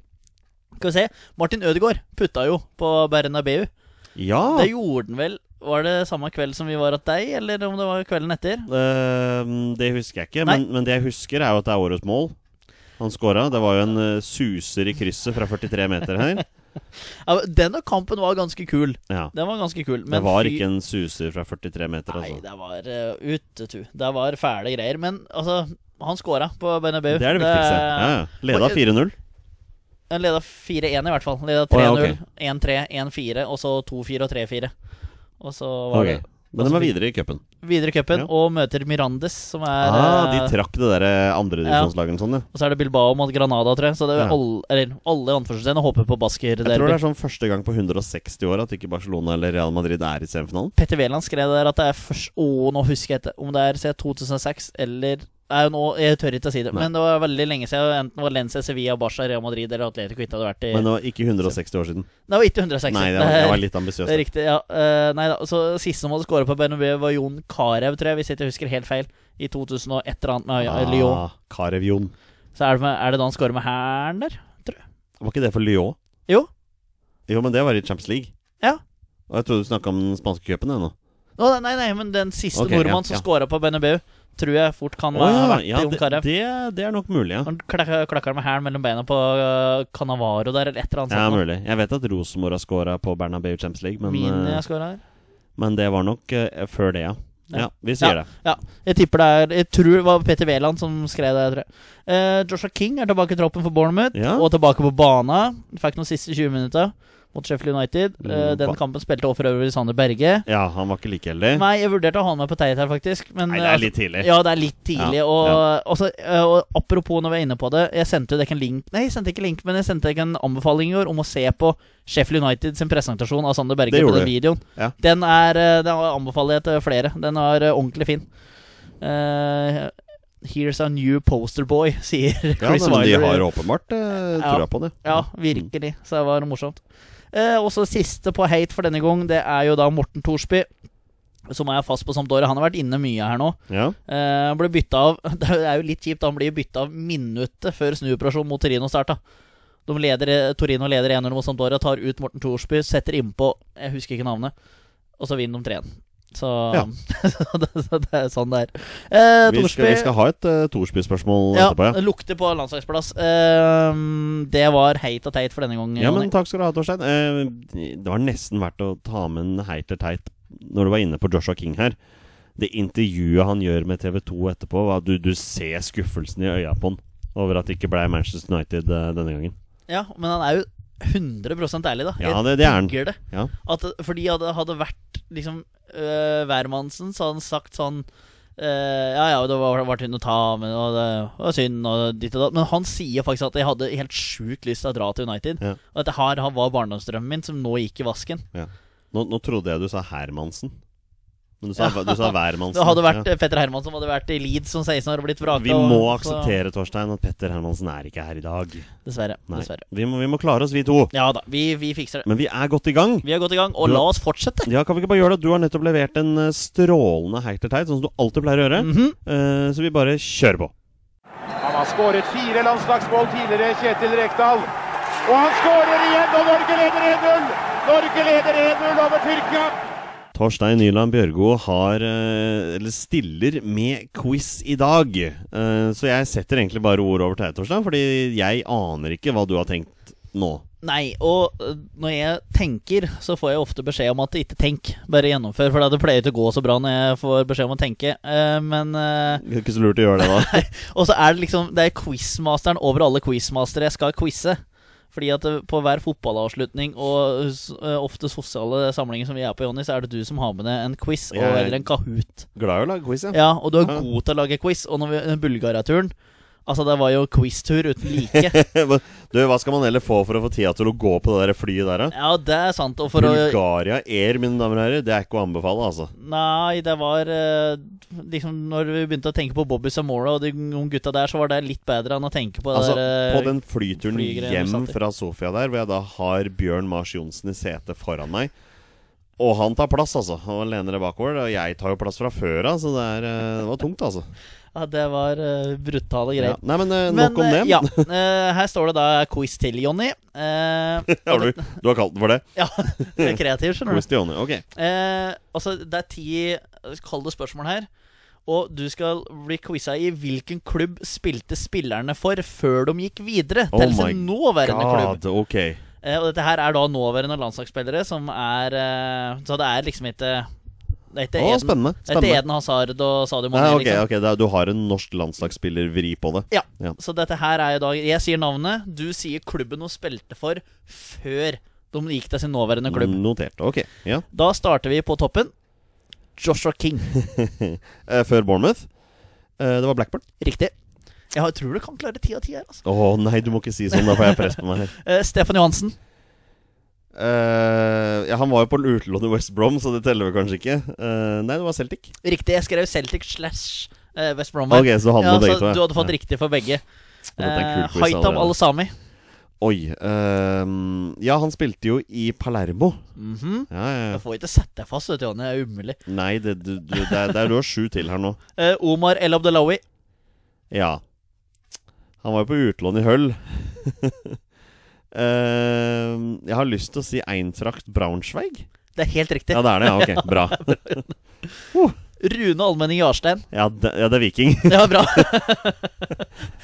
S2: Skal vi se. Martin Ødegaard putta jo på Bernabeu.
S1: ja
S2: Det gjorde han vel Var det samme kveld som vi var hos deg, eller om det var kvelden etter?
S1: Ehm, det husker jeg ikke,
S2: Nei.
S1: men, men det jeg husker, er jo at det er årets mål. Han scora. Det var jo en eh, suser i krysset fra 43 meter
S2: [LAUGHS]
S1: her.
S2: Ja, Denne kampen var ganske kul.
S1: Ja.
S2: Den var ganske kul.
S1: Det
S2: Men
S1: var
S2: fy-
S1: ikke en suser fra 43 meter,
S2: Nei,
S1: altså.
S2: det var uh, utetu. Det var fæle greier. Men altså, han scora på Bernabeu.
S1: Det er det viktigste. Ja, ja. Leda 4-0.
S2: Han leda 4-1 i hvert fall. Leda 3-0,
S1: Å, ja, ok.
S2: 1-3, 1-4, og så 2-4 og 3-4. Og så var
S1: Ok. Men de
S2: Altså,
S1: er videre i cupen.
S2: det videre i cupen
S1: Ja.
S2: og møter Mirandes, som er
S1: Ah, de
S2: eh,
S1: trakk det derre andredivisjonslaget sånn, ja.
S2: Og så er det Bilbao mot Granada, tror jeg. Så det er
S1: Ja.
S2: alle, eller, alle anførselstegnene håper på basker.
S1: Jeg tror det er sånn første gang på 160 år at ikke Barcelona eller Real Madrid er i semifinalen.
S2: Petter Wæland skrev der at det er først Å, nå husker jeg ikke om det er se, 2006 eller Nei, nå, jeg tør ikke å si det,
S1: Nei.
S2: men det var veldig lenge siden. Enten Valencia, Sevilla, Barca, Real Madrid eller Atletico ikke hadde vært i
S1: Men det var ikke 160 år siden.
S2: Det var ikke 160.
S1: Nei, det var, jeg var litt
S2: [LAUGHS] det
S1: ambisiøs.
S2: er
S1: der.
S2: riktig, ja. Eh, nei da, så Siste som hadde skåra på Bernabeu, var Jon Carew, tror jeg, hvis jeg ikke husker helt feil. I 2000 og et eller annet med
S1: Ah,
S2: Lyon.
S1: Karev Jon.
S2: Så er det, med, er det da han skårer med hæren der?
S1: Var ikke det for Lyon?
S2: Jo.
S1: Jo, men det var i Champions League.
S2: Ja.
S1: Og jeg trodde du snakka om den spanske cupen ennå.
S2: Å, nei, nei, nei, men den siste
S1: Ok, ja,
S2: nordmann som
S1: ja.
S2: skåra på Bernabeu, tror jeg fort kan
S1: Å,
S2: ha
S1: ja,
S2: vært
S1: ja,
S2: Jon
S1: det,
S2: Carew.
S1: det, det er nok mulig, ja.
S2: Han klak- klakker med hælen mellom beina på øh, Canavaro der, eller et eller annet.
S1: Ja,
S2: sånt.
S1: mulig. Jeg vet at Rosenborg har scora på Bernabeu Champions League, men,
S2: Min
S1: eh,
S2: jeg skåra her.
S1: men det var nok eh, før det, ja.
S2: Ja.
S1: Ja, vi sier det.
S2: Jeg tipper det er Jeg tror det var Peter Wæland som skrev det. Tror jeg. Eh, Joshua King er tilbake i troppen for Bournemouth,
S1: Ja.
S2: og tilbake på bana. Fikk noen siste 20 minutter mot Sheffield United. Eh,
S1: Mm,
S2: den
S1: ba-
S2: kampen spilte over for øvrig Sander Berge.
S1: Ja, han var ikke like heldig. Nei,
S2: Nei, jeg vurderte å ha han med på teit her, faktisk. Men,
S1: det
S2: eh,
S1: er litt [LAUGHS] tidlig.
S2: Ja, det er litt tidlig.
S1: Ja,
S2: og,
S1: ja.
S2: og så, eh, og apropos når vi er inne på det, jeg sendte jo dere en link Nei, jeg sendte ikke link, men jeg sendte dere en anbefaling i går om å se på Sheffield United sin presentasjon av Sander Berge
S1: Det
S2: på
S1: gjorde
S2: den videoen.
S1: Ja.
S2: Den er eh, Den anbefaler jeg til flere. Den er eh, ordentlig fin. Eh, Here's a new poster boy, [LAUGHS] sier
S1: Ja,
S2: Chris
S1: men de
S2: Wilder.
S1: har åpenbart eh,
S2: Ja.
S1: trua på det.
S2: Ja, virkelig. Så det var morsomt. Eh, og så siste på hate for denne gang, det er jo da Morten Thorsby. Som er fast på Sampdoria. Han har vært inne mye her nå.
S1: Ja.
S2: Eh, Han ble bytta av [LAUGHS] Det er jo litt kjipt, da. han blir bytta av minuttet før snuoperasjonen mot Torino starta. De leder, eh, Torino leder 1-0 mot Sampdoria, tar ut Morten Thorsby, setter innpå Jeg husker ikke navnet. Og så vinner de 3-1. Så,
S1: Ja.
S2: [LAUGHS] så det, så det er sånn det er. Eh,
S1: Vi skal, vi
S2: Thorsby-
S1: skal ha et uh, Thorsby-spørsmål
S2: ja,
S1: etterpå, ja.
S2: det lukter på landslagsplass. Ehm, det var heit og teit for denne gangen.
S1: Ja,
S2: Jonny.
S1: men takk skal du ha, Torstein. Eh, det var nesten verdt å ta med en heit eller teit når du var inne på Joshua King her. Det intervjuet han gjør med TV 2 etterpå, var- du, du ser skuffelsen i øya på han over at det ikke ble Manchester United eh, denne gangen.
S2: ja, men han er jo 100 ærlig, da.
S1: Ja,
S2: Jeg
S1: det, det er han.
S2: digger det.
S1: Ja.
S2: At, fordi hadde, hadde vært liksom øh, Værmannsen, så hadde han sagt sånn øh, Ja ja, det var, var synd å ta, men og det var synd, og ditt og datt. Men han sier faktisk at jeg hadde helt sjukt lyst til å dra til United.
S1: Ja.
S2: Og at det her han var barndomsdrømmen min, som nå gikk i vasken.
S1: Nå, nå trodde jeg du sa Hermansen. Men du sa, du sa Værmannsen.
S2: [LAUGHS] Det hadde vært
S1: Ja.
S2: Petter Hermansen som hadde vært i Leeds som 16 år og blitt vraka.
S1: Vi må
S2: og- så-
S1: akseptere, Torstein, at Petter Hermansen er ikke her i dag.
S2: Dessverre.
S1: Nei.
S2: dessverre.
S1: Vi må, vi må klare oss, vi to.
S2: Ja da, vi, vi fikser det.
S1: Men vi er godt i gang.
S2: Vi er godt i gang, og
S1: Du-
S2: la oss fortsette.
S1: Ja, kan vi ikke bare gjøre det? Du har nettopp levert en eh, strålende heiter teit, sånn som du alltid pleier å gjøre.
S2: Mhm.
S1: Eh, så vi bare kjører på.
S4: Han har skåret fire landslagsmål tidligere, Kjetil Rekdal. Og han skårer igjen, og Norge leder 1-0! Norge leder 1-0 over Tyrkia!
S1: Torstein Nyland Bjørgo har eh, Eller stiller med quiz i dag. Eh, så jeg setter egentlig bare ord over til deg, Torstein, fordi jeg aner ikke hva du har tenkt nå.
S2: Nei, og øh, når jeg tenker, så får jeg ofte beskjed om at ikke tenk, bare gjennomfør. For da det pleier ikke å gå så bra når jeg får beskjed om å tenke. Eh, Men eh,
S1: Det er ikke så lurt å gjøre det, da.
S2: Og så er det liksom Det er quizmasteren over alle quizmastere jeg skal quize. Fordi at eh, på hver fotballavslutning og s- eh, ofte sosiale samlinger som vi er på, Jonny, så er det du som har med deg en quiz, og,
S1: Jeg-
S2: eller en Kahoot.
S1: [LAUGHS] Glad i å lage quiz, ja.
S2: Ja, og du er
S1: Ja.
S2: god til å lage quiz. Og når vi, den Bulgaria-turen Altså, det var jo quiztur uten
S1: [LAUGHS]
S2: like.
S1: du, hva skal man heller få for å få tida til å gå på det der flyet der, da?
S2: Ja, det er sant. Og for å
S1: Bulgaria Air, mine damer og herrer, det er ikke å anbefale, altså.
S2: Nei, det var eh, liksom Når vi begynte å tenke på Bobby Samora og de unge gutta der, så var det litt bedre enn å tenke på det
S1: Altså,
S2: der, eh,
S1: på den flyturen
S2: flygreiene vi
S1: hjem
S2: satt i.
S1: fra Sofia der, hvor jeg da har Bjørn Mars Johnsen i setet foran meg Og han tar plass, altså, og lener det bakover. Og jeg tar jo plass fra før av, så det, er, eh, det var tungt, altså.
S2: Ja, det var eh, brutale
S1: Ja.
S2: greier.
S1: Nei, men eh, nok om
S2: eh,
S1: det. [LAUGHS]
S2: ja, eh, her står det da quiz til, Jonny. Eh,
S1: Har du, du har kalt den for det?
S2: [LAUGHS] ja, det er kreativ, skjønner du.
S1: Quiz til Jonny. Ok.
S2: Eh, altså, det er ti eh, kalde spørsmål her. Og du skal bli quiza i hvilken klubb spilte spillerne for før de gikk videre
S1: Oh
S2: til sin
S1: my
S2: nåværende klubb.
S1: God, ok.
S2: Eh, og dette her er da nåværende landslagsspillere som er eh, Så det er liksom ikke Det er ikke
S1: Å,
S2: Eden-
S1: spennende,
S2: Det er ikke
S1: spennende.
S2: Eden Hazard og Sadio Mane.
S1: Nei, ok,
S2: liksom.
S1: ok, da- Du har en norsk landslagsspiller-vri på det.
S2: Ja.
S1: Ja.
S2: Så dette her er jo da Jeg sier navnet, du sier klubben hun spilte for før de gikk til sin nåværende klubb.
S1: Notert. Ok. Ja.
S2: Da starter vi på toppen. Joshua King.
S1: Eh, før Bournemouth. Eh, det var Blackburn.
S2: Riktig. Jeg har- tror du kan klare ti av ti her, altså.
S1: Å nei, du må ikke si sånn. Da får jeg press på meg her.
S2: Eh, Stefan Johansen.
S1: Eh, ja, han var jo på utlån i West Brom, så det teller vel kanskje ikke. Eh, nei, det var Celtic.
S2: Riktig. Jeg skrev Celtic slash eh, West Bromwich.
S1: Ok, så han
S2: ja,
S1: med begge
S2: så
S1: to. ja.
S2: du hadde fått
S1: Ja.
S2: riktig for begge.
S1: dette er en kul
S2: Eh,
S1: quiz
S2: Haitam
S1: allerede.
S2: Al-Sami.
S1: Oi. eh, ja, han spilte jo i Palermo.
S2: Mhm.
S1: Ja, ja, ja.
S2: Jeg får ikke sette deg fast, vet du, Jonny. Det er umulig.
S1: Nei, det, du, du, det, er, det er du har sju til her nå.
S2: Eh, Omar El Abdelawi.
S1: Ja. Han var jo på utlån i Høll. [LAUGHS] Eh, jeg har lyst til å si Eintracht Braunschweig.
S2: Det er helt riktig.
S1: Ja, det er det. Ja, ok,
S2: [LAUGHS]
S1: Bra.
S2: Rune Almenning Jarstein.
S1: Ja, det, ja, det er Viking. [LAUGHS]
S2: Det var bra.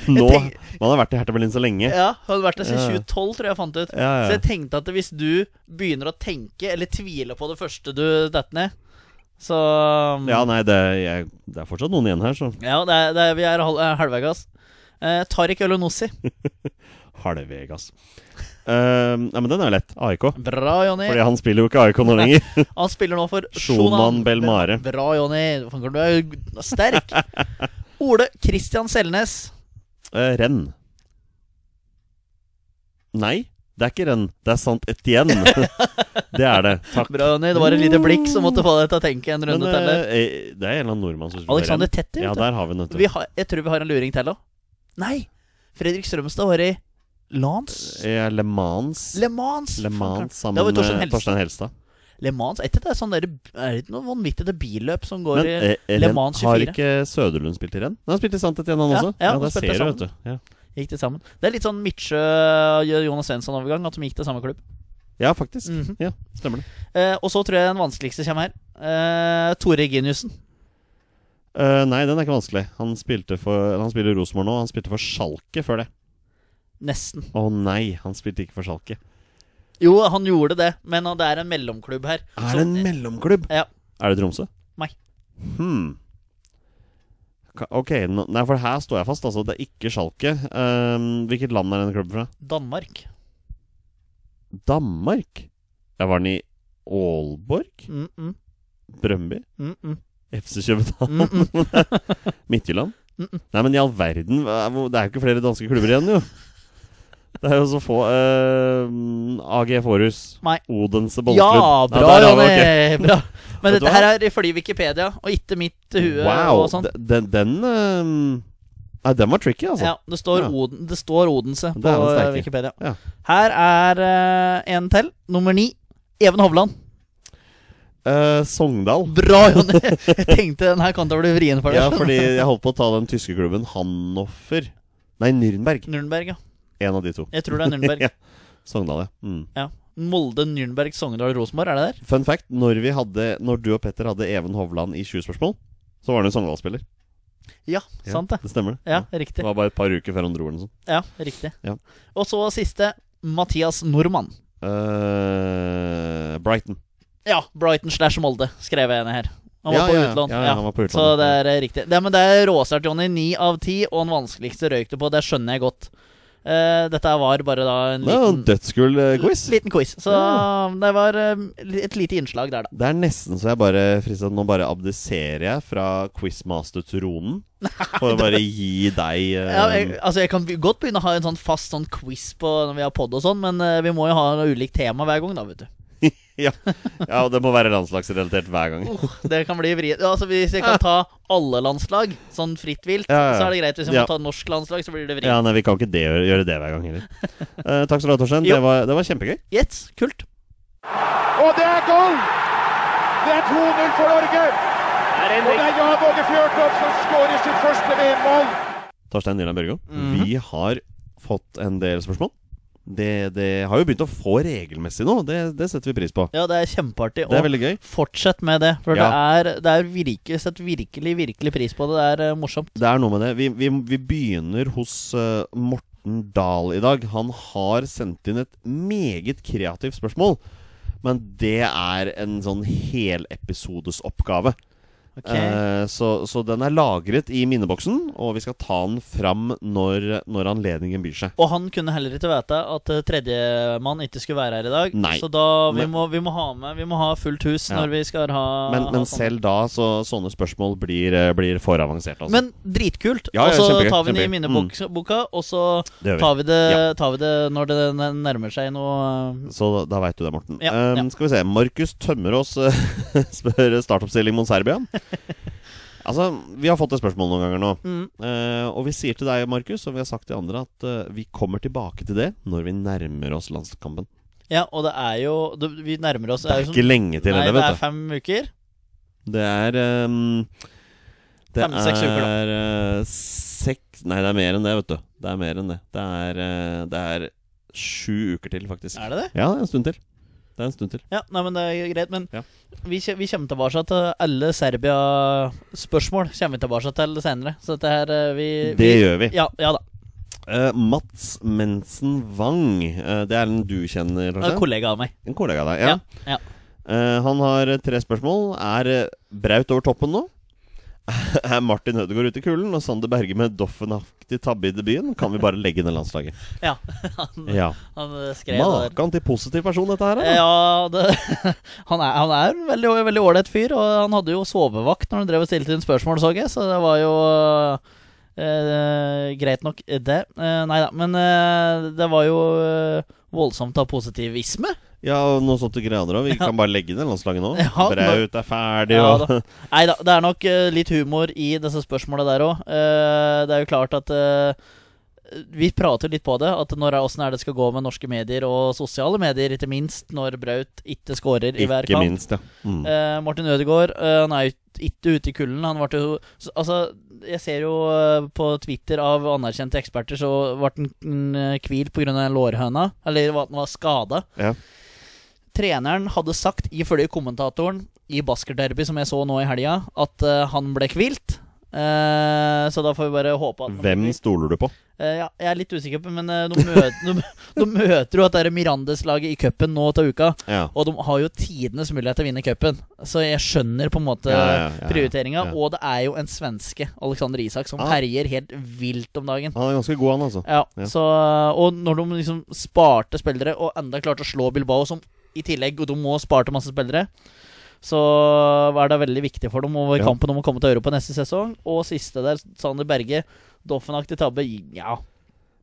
S1: Nå
S2: tenker-
S1: Man har vært i Hertha Berlin så lenge.
S2: Ja, hadde vært der
S1: Ja.
S2: siden 2012, tror jeg jeg fant ut.
S1: Ja,
S2: Så
S1: ja.
S2: jeg tenkte at hvis du begynner å tenke eller tvile på det første du detter ned, så um, Mm.
S1: ja nei, det, jeg, det er fortsatt noen igjen her, så
S2: Ja, det er, det er, vi er halv, eh, halvveis. Eh, Tariq Olonossi.
S1: Halvveg, altså. Eh, nei, men den er jo lett. AIK.
S2: Bra, Jonny.
S1: Fordi han spiller jo ikke AIK nå lenger. [LAUGHS]
S2: Han spiller nå for
S1: Shonan Belmare.
S2: Bra, Jonny. Faen, Du er jo
S1: [LAUGHS]
S2: sterk. Ole Christian Selnes.
S1: Eh, renn. Nei, det er ikke renn. Det er sant Etienne. [LAUGHS] det er det. Takk.
S2: Bra, Jonny. Det var et lite blikk som måtte få deg til å tenke en runde
S1: Men
S2: til. der.
S1: eh, eh, det er en eller annen nordmann som spiller
S2: Alexander
S1: renn.
S2: Tetter.
S1: Ja,
S2: vet du.
S1: der har vi den. vet du.
S2: Vi har, jeg tror vi har en luring til òg. Nei! Fredrik Strømstad var i Lance
S1: Eh, Le Mans.
S2: Le Mans!
S1: Le Mans
S2: Faen,
S1: sammen
S2: det var jo Torstein
S1: med
S2: Helstad.
S1: Torstein Helstad.
S2: Le Mans, er ikke det sånn der, er det ikke noe vanvittig det billøp som går
S1: Men
S2: i
S1: eh,
S2: Le
S1: renn-
S2: Mans 24?
S1: har ikke Søderlund spilt i renn? Nei, Han spilte i sant Etienne, han
S2: Ja,
S1: også.
S2: ja,
S1: Ja,
S2: han
S1: der
S2: spilte
S1: ser du,
S2: sammen. Mm.
S1: vet du. Ja.
S2: Gikk det sammen? Det er litt sånn Midtsjø og Jonas Svensson-overgang, at de gikk til samme klubb.
S1: ja, faktisk.
S2: Mhm.
S1: Ja, Stemmer det.
S2: Eh, og så tror jeg den vanskeligste kommer her. Eh, Tore Giniussen.
S1: Eh, nei, den er ikke vanskelig. Han, spilte for, han spiller i Rosenborg nå. Han spilte for Schalke før det.
S2: Nesten.
S1: Å nei, han spilte ikke for Schalke.
S2: Jo, han gjorde det, men det er en mellomklubb her.
S1: Er
S2: Så-
S1: det en mellomklubb?
S2: Ja.
S1: Er det Tromsø?
S2: Nei.
S1: Hmm. Ka- Ok, nå- nei, for her står jeg fast, altså. Det er ikke Schalke. Ehm, hvilket land er denne klubben fra?
S2: Danmark.
S1: Danmark? Ja, var den i Aalborg?
S2: Mm -mm,
S1: Brøndby?
S2: mm -mm,
S1: FC København?
S2: mm -mm.
S1: [LAUGHS] Midtjylland?
S2: Mm-mm.
S1: Nei, men i all verden, hva- hvor- det er jo ikke flere danske klubber igjen, jo. Det er jo så få. Ehm, AG Forus.
S2: Nei.
S1: Odense Bollklubb.
S2: Ja, bra,
S1: der har vi- ok.
S2: Jonny! [LAUGHS] Bra. Men
S1: Vet du hva?
S2: dette her er ifølge Wikipedia, og ikke mitt hue
S1: Wow,
S2: og sånn.
S1: de- den den, ehm, Nei, den var tricky, altså.
S2: Ja, det står,
S1: Ja.
S2: Oden, det står Odense
S1: Det
S2: på
S1: er den sterke.
S2: eh, Wikipedia.
S1: Ja.
S2: Her er eh, en til. Nummer ni. Even Hovland.
S1: Eh, Sogndal.
S2: Bra, Jonny! [LAUGHS] Jeg tenkte den her kom til å bli vrien for deg.
S1: Ja, fordi jeg holdt på å ta den tyske klubben Hannoffer. Nei, Nürnberg.
S2: Nürnberg, ja.
S1: En av de to.
S2: Jeg tror det er
S1: [LAUGHS]
S2: Nürnberg.
S1: Ja. Sogndal, ja. Mm.
S2: ja. Molde, Nürnberg, Sogndal, Rosenborg. Er det der?
S1: Fun fact, når, vi hadde, når du og Petter hadde Even Hovland i 20 spørsmål, så var han jo Sogndal-spiller.
S2: Ja, sant det.
S1: Det stemmer, det.
S2: Ja,
S1: Det
S2: riktig.
S1: var bare et par uker før han dro eller noe sånt.
S2: Ja, riktig.
S1: Ja.
S2: Og så siste. Mathias Nordmann.
S1: Eh, Brighton.
S2: Ja, Brighton slash Molde, skrev jeg ned her. Han var
S1: Ja,
S2: på
S1: ja, ja.
S2: utlån.
S1: Ja, ja, han var på utlån.
S2: Så det er eh, riktig. Det, men det er råsterkt, Jonny. Ni av ti, og den vanskeligste røyk du på. Det skjønner jeg godt. Eh, dette var bare da en
S1: Det er jo en
S2: liten,
S1: dødsgull eh, quiz.
S2: liten quiz. Så
S1: Ja.
S2: det var eh, et lite innslag der, da.
S1: Det er nesten så jeg bare fristet, Nå bare abdiserer jeg fra
S2: [LAUGHS]
S1: quizmaster-tronen. For å bare gi deg eh,
S2: Ja, jeg, altså jeg kan be- godt begynne å ha en sånn fast sånn quiz på når vi har pod og sånn, men eh, vi må jo ha noe ulikt tema hver gang, da, vet du.
S1: [LAUGHS] ja. ja, og det må være landslagsrelatert hver gang.
S2: [LAUGHS] Det kan bli vrient. Altså, hvis jeg kan ta alle landslag, sånn fritt vilt,
S1: Ah. Ja, ja, ja.
S2: så er det greit. Hvis jeg må
S1: Ja.
S2: ta norsk landslag, så blir det vrient.
S1: Ja, nei, Vi kan ikke det, gjøre gjøre det hver gang heller. Eh, takk skal du ha, Torstein.
S2: Jo.
S1: Det var, det var kjempegøy.
S2: Yes, kult.
S4: Og det er goal! Det er 2-0 for Norge. Og det er Jan Åge Fjørtoft som skårer sitt første VM-mål.
S1: Torstein Nyland Børgo,
S2: Mhm.
S1: vi har fått en del spørsmål. Det, det har jo begynt å få regelmessig nå. Det, det setter vi pris på.
S2: Ja, det er kjempeartig.
S1: Det er
S2: Og
S1: veldig gøy.
S2: fortsett med det, for
S1: Ja.
S2: det er, det er virke, sett virkelig, virkelig pris på det. Det er eh, morsomt.
S1: Det er noe med det. Vi, vi, vi begynner hos eh, Morten Dahl i dag. Han har sendt inn et meget kreativt spørsmål. Men det er en sånn helepisodesoppgave.
S2: Ok.
S1: Eh, så, så den er lagret i minneboksen, og vi skal ta den fram når, når anledningen byr seg.
S2: Og han kunne heller ikke vite at eh, tredjemann ikke skulle være her i dag.
S1: Nei.
S2: Så da vi
S1: Men-
S2: må, vi må ha med Vi må ha fullt hus
S1: Ja.
S2: når vi skal ha
S1: Men,
S2: ha
S1: men
S2: sånn.
S1: selv da, så sånne spørsmål blir, eh, blir for avanserte. Altså.
S2: Men dritkult.
S1: Ja, ja,
S2: og så
S1: kjempegøy,
S2: tar vi den i
S1: kjempegøy. Mm.
S2: minneboka, og så
S1: Det gjør vi.
S2: tar vi, det,
S1: Ja.
S2: tar vi det når det n- nærmer seg noe
S1: Så da- da veit du det, Morten.
S2: Ja,
S1: Ehm,
S2: ja.
S1: Skal vi se. Markus Tømmerås eh, [LAUGHS] spør startoppstilling mot Serbia. Altså, Vi har fått det spørsmålet noen ganger nå.
S2: mm.
S1: Eh, og vi sier til deg, Markus, og vi har sagt til andre, at eh, vi kommer tilbake til det når vi nærmer oss landskampen.
S2: Ja, og det er jo det, Vi nærmer oss
S1: Det er ikke lenge til
S2: Nei,
S1: heller,
S2: det er
S1: vet du.
S2: fem uker.
S1: Det er ehm, Det
S2: Fem-seks uker, da.
S1: er eh, seks Nei, det er mer enn det, vet du. Det er mer enn det. Det er, eh, det er sju uker til, faktisk.
S2: Er det det?
S1: Ja, det er en stund til. Det er en stund til.
S2: Ja, nei, men det er greit. Men
S1: Ja.
S2: vi, kje- vi kommer tilbake til alle Serbia-spørsmål. Kommer vi tilbake til senere. Så dette her eh, vi,
S1: Det gjør vi.
S2: Ja, ja da.
S1: Eh, Mats Mensen Wang. eh, det er en du kjenner,
S2: Det er en
S1: kanskje?
S2: kollega av meg.
S1: En kollega av deg. Ja.
S2: Ja. ja.
S1: Eh, han har eh, tre spørsmål. Er eh, Braut over toppen nå? [LAUGHS] er Martin Hødegaard ute i kulen? Og Sander Berge med Doffen-aktig tabbe i debuten? Kan vi bare legge ned
S2: [LAUGHS]
S1: landslaget?
S2: ja. Han,
S1: Ja.
S2: han eh, skrev det der.
S1: Makan til positiv person, dette her. da.
S2: Ja, det, [LAUGHS] han, er, han er en veldig veldig ålreit fyr, og han hadde jo sovevakt når han drev og stilte inn spørsmål, så jeg, så det var jo eh, greit nok, det. Eh, nei da, men eh, det var jo eh, voldsomt av positivisme.
S1: Ja, og noe sånt til grader
S2: [LAUGHS]
S1: òg. Vi kan bare legge ned landslaget nå.
S2: Ja,
S1: Braut er ferdig,
S2: Ja
S1: og
S2: da. Nei da, det er nok eh, litt humor i disse spørsmåla der òg. det er jo klart at eh, vi prater litt på det, at når, åssen er det skal gå med norske medier og sosiale medier, ikke minst når Braut ikke scorer i
S1: [LAUGHS]
S2: hver
S1: Ikke
S2: kamp.
S1: minst, ja. Mm.
S2: Eh, Martin Ødegaard eh, Han er jo ikke ute i kulden. Han ble jo så- Altså, jeg ser jo eh, på Twitter av anerkjente eksperter, så ble han mm, kvilt pga. lårhøna. Eller at han var skada.
S1: Ja.
S2: Treneren hadde sagt ifølge kommentatoren i basketderby, som jeg så nå i helga, at eh, han ble kvilt. Eh, så da får vi bare håpe at han ble
S1: Hvem
S2: kvilt.
S1: stoler du på?
S2: Eh, ja, jeg er litt usikker, på, men eh, de, [LAUGHS] møter, de, de møter jo at det er Mirandes-laget i cupen nå til uka.
S1: Ja.
S2: Og de har jo tidenes mulighet til å vinne cupen, så jeg skjønner på en måte
S1: Ja,
S2: ja,
S1: ja, ja, ja.
S2: prioriteringa.
S1: Ja.
S2: Og det er jo en svenske, Alexander Isak, som
S1: Ah.
S2: herjer helt vilt om dagen.
S1: Han er ganske god, han, altså.
S2: Ja,
S1: Ja.
S2: Så, og når de liksom sparte spillere, og enda klarte å slå Bilbao, som i tillegg Og de må sparte masse spillere, så var det veldig viktig for dem over
S1: Ja.
S2: kampen om å komme til Europa neste sesong. Og siste der, Sander Berge, Doffen-aktig tabbe. Ja,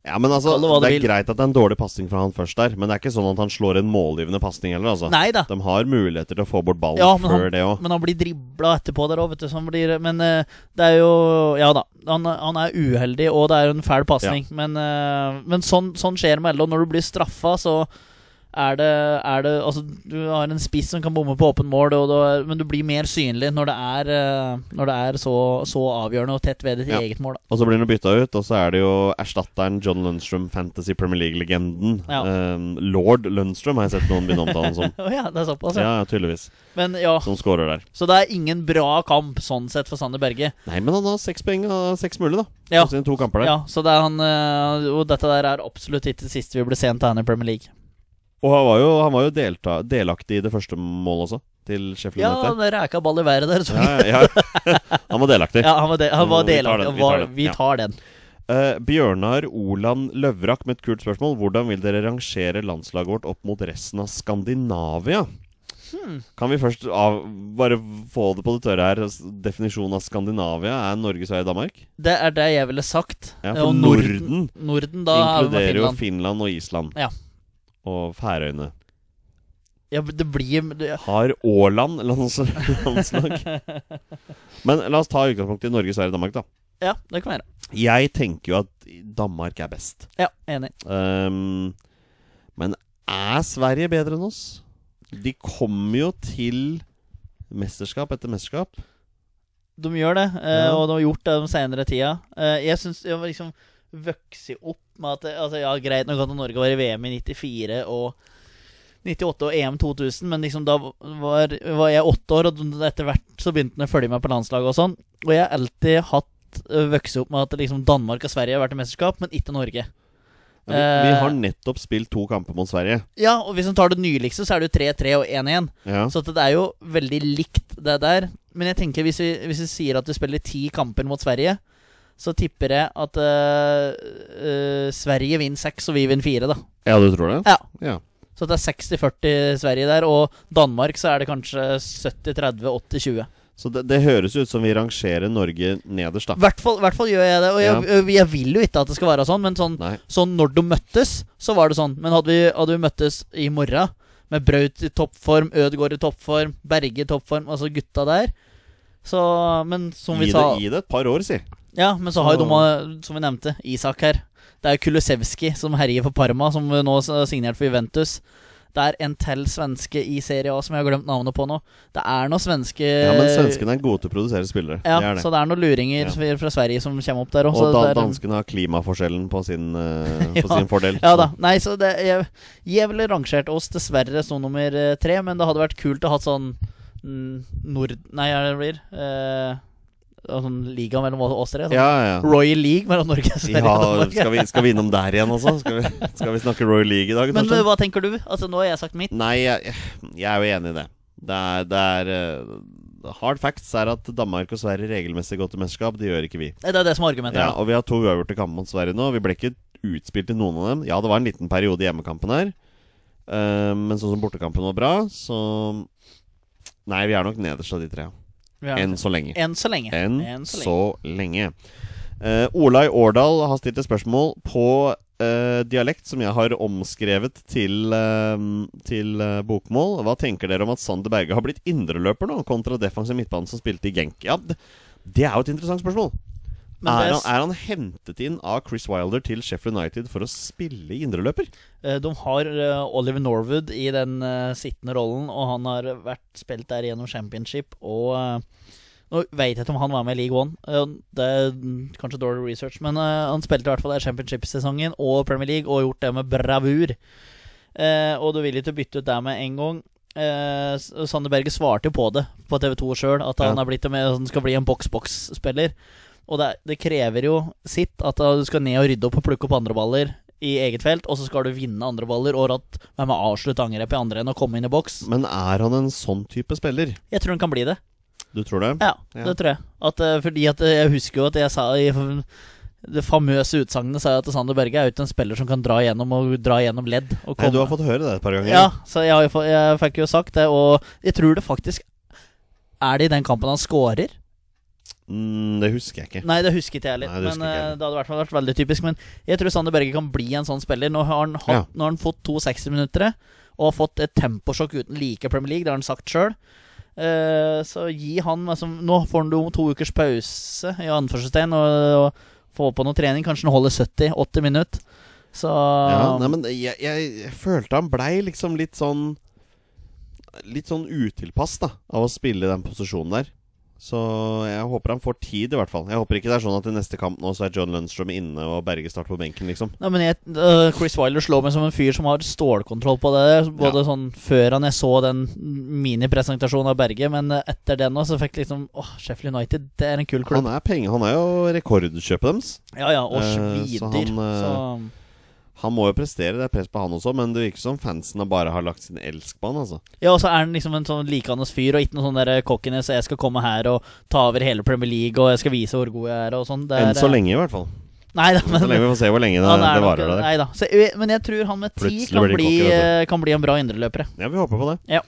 S1: Ja, men altså,
S2: Kall det hva
S1: Det
S2: du
S1: er
S2: vil.
S1: greit at det er en dårlig pasning fra han først der, men det er ikke sånn at han slår en målgivende pasning heller, altså.
S2: nei da.
S1: De har muligheter til å få bort ballen
S2: Ja, men
S1: før
S2: han,
S1: det òg.
S2: men han blir dribla etterpå der òg, vet du. Så han blir, men eh, det er jo Ja da. Han, han er uheldig, og det er jo en fæl pasning. Men, eh, men sånn, sånn skjer med alle. og Når du blir straffa, så er det, er det Altså, du har en spiss som kan bomme på åpen mål, og du, men du blir mer synlig når det er, eh, når det er så, så avgjørende og tett ved ditt
S1: Ja.
S2: eget mål. Da. [LAUGHS]
S1: Og så blir han bytta ut, og så er det jo erstatteren John Lundstrøm, Fantasy Premier League-legenden.
S2: Ja.
S1: Ehm, Lord Lundstrøm har jeg sett noen begynne å omtale han som.
S2: Å [LAUGHS] ja, det er såpass, ja.
S1: Ja, ja, tydeligvis.
S2: Men ja,
S1: Som scorer der.
S2: Så det er ingen bra kamp sånn sett for Sander Berge.
S1: Nei, men han har seks poeng og seks mulige, da.
S2: Ja.
S1: På sine to kamper der.
S2: Ja, så det er han eh, Og dette der er absolutt ikke det siste vi blir sent av henne i Premier League.
S1: Og han var jo, han var jo delta, delaktig i det første målet også, til Sheffield
S2: Ja,
S1: United.
S2: han ræka ball i været der. Så.
S1: Ja, [LAUGHS] ja, ja. Han var delaktig.
S2: Ja, han var, de, han var
S1: Vi tar
S2: delaktig.
S1: den,
S2: og
S1: vi tar
S2: var-
S1: den,
S2: Vi
S1: ja.
S2: tar den.
S1: Eh, Bjørnar Oland Løvrak med et kult spørsmål. Hvordan vil dere rangere landslaget vårt opp mot resten av Skandinavia?
S2: Hmm.
S1: Kan vi først av, bare få det på det tørre her? Altså, Definisjonen av Skandinavia er Norge, Sverige, Danmark?
S2: Det er det jeg ville sagt.
S1: Ja,
S2: Eh,
S1: for
S2: og
S1: Norden
S2: Norden, da
S1: Inkluderer
S2: Inkluderer
S1: jo
S2: Finland.
S1: Finland og Island.
S2: Ja.
S1: Og Færøyene.
S2: Ja, det blir det,
S1: Har Åland lands [LAUGHS] landslag?
S2: [LAUGHS]
S1: Men la oss ta utgangspunkt i Norge, Sverige, Danmark, da.
S2: Ja, det kan være.
S1: Jeg tenker jo at Danmark er best.
S2: Ja, enig.
S1: Ehm, men er Sverige bedre enn oss? De kommer jo til mesterskap etter mesterskap.
S2: De gjør det, eh,
S1: Ja.
S2: og de har gjort det de senere tida. Eh, jeg syns jeg var liksom vokst opp med at det- altså, Ja, greit nok at Norge var i VM i 94 og 98 og EM 2000, E men liksom da var, var jeg åtte år, og etter hvert så begynte han å følge meg på landslaget og sånn. Og jeg har alltid hatt eh, vokst opp med at liksom Danmark og Sverige har vært i mesterskap, men ikke Norge.
S1: Vi, vi
S2: Eh.
S1: har nettopp spilt to kamper mot Sverige.
S2: Ja, og hvis en tar det nyligste, så er det jo 3-3 og 1-1.
S1: Ja.
S2: Så at det er jo veldig likt det der. Men jeg tenker hvis vi, hvis vi sier at du spiller ti kamper mot Sverige, så tipper jeg at eh, eh, Sverige vinner seks, og vi vinner fire, da.
S1: ja, du tror det?
S2: Ja.
S1: Ja.
S2: Så det er 60-40 Sverige der, og Danmark så er det kanskje 70-30-80-20.
S1: Så det, det høres ut som vi rangerer Norge nederst, da.
S2: I hvert fall- hvert fall gjør jeg det. Og jeg, jeg vil jo ikke at det skal være sånn, men sånn,
S1: Nei.
S2: sånn når de møttes, så var det sånn. Men hadde vi, hadde vi møttes i morgen, med Braut i toppform, Ødegaard i toppform, Berge i toppform, altså gutta der Så, men som vi
S1: Gi det,
S2: sa Eh,
S1: gi det et par år, si.
S2: Ja, men så har jo de, som vi nevnte, Isak her. Det er Kulusevski som herjer for Parma, som nå er signert for Juventus. Det er en til svenske i Serie A som jeg har glemt navnet på nå. Det er noen svenske
S1: Ja, Men svenskene er gode til å produsere spillere.
S2: Ja,
S1: det er
S2: så
S1: det.
S2: det er noen luringer
S1: Ja.
S2: fra- fra Sverige som kommer opp der òg.
S1: Og da, danskene har klimaforskjellen på sin, eh,
S2: [LAUGHS]
S1: på
S2: Ja.
S1: sin fordel.
S2: Ja
S1: så-
S2: da. Nei, så det Jeg, jeg ville rangert oss dessverre som nummer eh, tre, men det hadde vært kult å ha sånn mm, Nord... Nei, hva er det det blir? Eh, sånn liga mellom oss tre? Sånn.
S1: Ja, ja.
S2: Royal League mellom Norge og Sverige. og [LAUGHS]
S1: ja
S2: Danmark.
S1: skal, vi, skal vi innom der igjen, altså? Skal vi, skal vi snakke Royal League i dag?
S2: Men
S1: Torstein?
S2: hva tenker du? Altså, nå har jeg sagt mitt.
S1: Nei, jeg, jeg er jo enig i det. Det er, det er eh, Hard facts er at Danmark og Sverige regelmessig går til mesterskap. Det gjør ikke vi.
S2: Eh, Det er det som er argumentet.
S1: Ja,
S2: Ja.
S1: og vi har to uavgjorte kamper mot Sverige nå. Vi ble ikke utspilt i noen av dem. Ja, det var en liten periode i hjemmekampen her. Eh, men sånn som bortekampen var bra, så Nei, vi er nok nederst av de tre.
S2: Vi har-
S1: Enn så lenge.
S2: Enn så lenge.
S1: Enn
S2: så
S1: så lenge.
S2: lenge.
S1: Eh, Olai Årdal har stilt et spørsmål på eh, dialekt som jeg har omskrevet til, eh, til eh, bokmål. Hva tenker dere om at Sander Berge har blitt indreløper nå, kontra defensiv midtbane som spilte i Genk? Ja, det, det er jo et interessant spørsmål.
S2: Men
S1: er,
S2: det
S1: han, er han hentet inn av Chris Wilder til Sheffield United for å spille i indreløper?
S2: Eh, De har eh, Oliver Norwood i den eh, sittende rollen, og han har vært spilt der gjennom championship og eh, Nå veit jeg ikke om han var med i League One, eh, det er mm, kanskje dårlig research, men eh, han spilte i hvert fall der championship-sesongen og Premier League og gjort det med bravur. Eh, og du vil ikke bytte ut det med en gang. Eh, S- Sander Berge svarte jo på det på TV2 sjøl, at han
S1: Ja.
S2: er blitt en- han skal bli en boks-boks-spiller. Og det, er- det krever jo sitt at eh, du skal ned og rydde opp og plukke opp andre baller i eget felt, og så skal du vinne andre baller og ratt med å avslutte angrep i andre enn å komme inn i boks.
S1: Men er han en sånn type spiller?
S2: Jeg tror han kan bli det.
S1: Du tror det?
S2: Ja,
S1: Ja.
S2: det tror jeg. At, eh, fordi at eh, jeg husker jo at jeg sa i f- det famøse utsagnet sa jeg at Sander Berge er jo ikke en spiller som kan dra gjennom og dra gjennom ledd. Og
S1: Nei, du har
S2: komme-
S1: fått høre det et par ganger.
S2: Ja, så jeg, har jo fått- jeg fikk jo sagt det, og jeg tror det faktisk Er det i den kampen han scorer?
S1: Mm, det husker jeg ikke.
S2: Nei, det husket jeg heller.
S1: Nei, det
S2: Men
S1: husker ikke jeg
S2: eh,
S1: heller.
S2: det hadde i hvert fall vært veldig typisk. Men jeg tror Sander Berge kan bli en sånn spiller. Nå har han, hatt,
S1: Ja.
S2: nå har han fått to 60-minuttere og har fått et temposjokk uten like i Premier League, det har han sagt sjøl. så gi han altså, Nå får han jo to ukers pause, i anførselstegn, og, og får på noe trening. Kanskje han holder 70-80 minutter. Så
S1: Ja, nei, men jeg, jeg, jeg følte han blei liksom litt sånn Litt sånn utilpass da av å spille i den posisjonen der. Så jeg håper han får tid, i hvert fall. Jeg håper ikke det er sånn at i neste kamp nå så er John Lundstrøm inne og Berge starter på benken, liksom.
S2: Nei, men jeg, øh, Chris Wilder slår meg som en fyr som har stålkontroll på det. der, Både sånn før han jeg så den minipresentasjonen av Berge, men øh, etter den også så fikk jeg liksom Åh, Sheffield United, det er en kul klubb.
S1: Han er, penge, han er jo rekordkjøpet deres.
S2: Ja ja, og
S1: Eh,
S2: svidyr.
S1: så
S2: så,
S1: han, eh, Han må jo prestere, det er press på han også, men det virker som fansen bare har lagt sin elsk på han, altså.
S2: Ja, og så er han liksom en sånn likandes fyr, og ikke noe sånn der cockene, så jeg skal komme her og ta over hele Premier League, og jeg skal vise hvor god jeg er, og sånn. Det er,
S1: Enn så
S2: eh,
S1: lenge, i hvert fall.
S2: Nei da, men
S1: Så lenge vi får se hvor lenge det,
S2: han
S1: det
S2: er nok-
S1: varer. Det. der.
S2: Nei da. Så, eh, men jeg tror han med ti
S1: Plutselig
S2: kan
S1: blir de
S2: bli,
S1: cocky, vet
S2: eh, kan bli en bra indreløper. jeg.
S1: Ja, vi håper på det.
S2: Ja.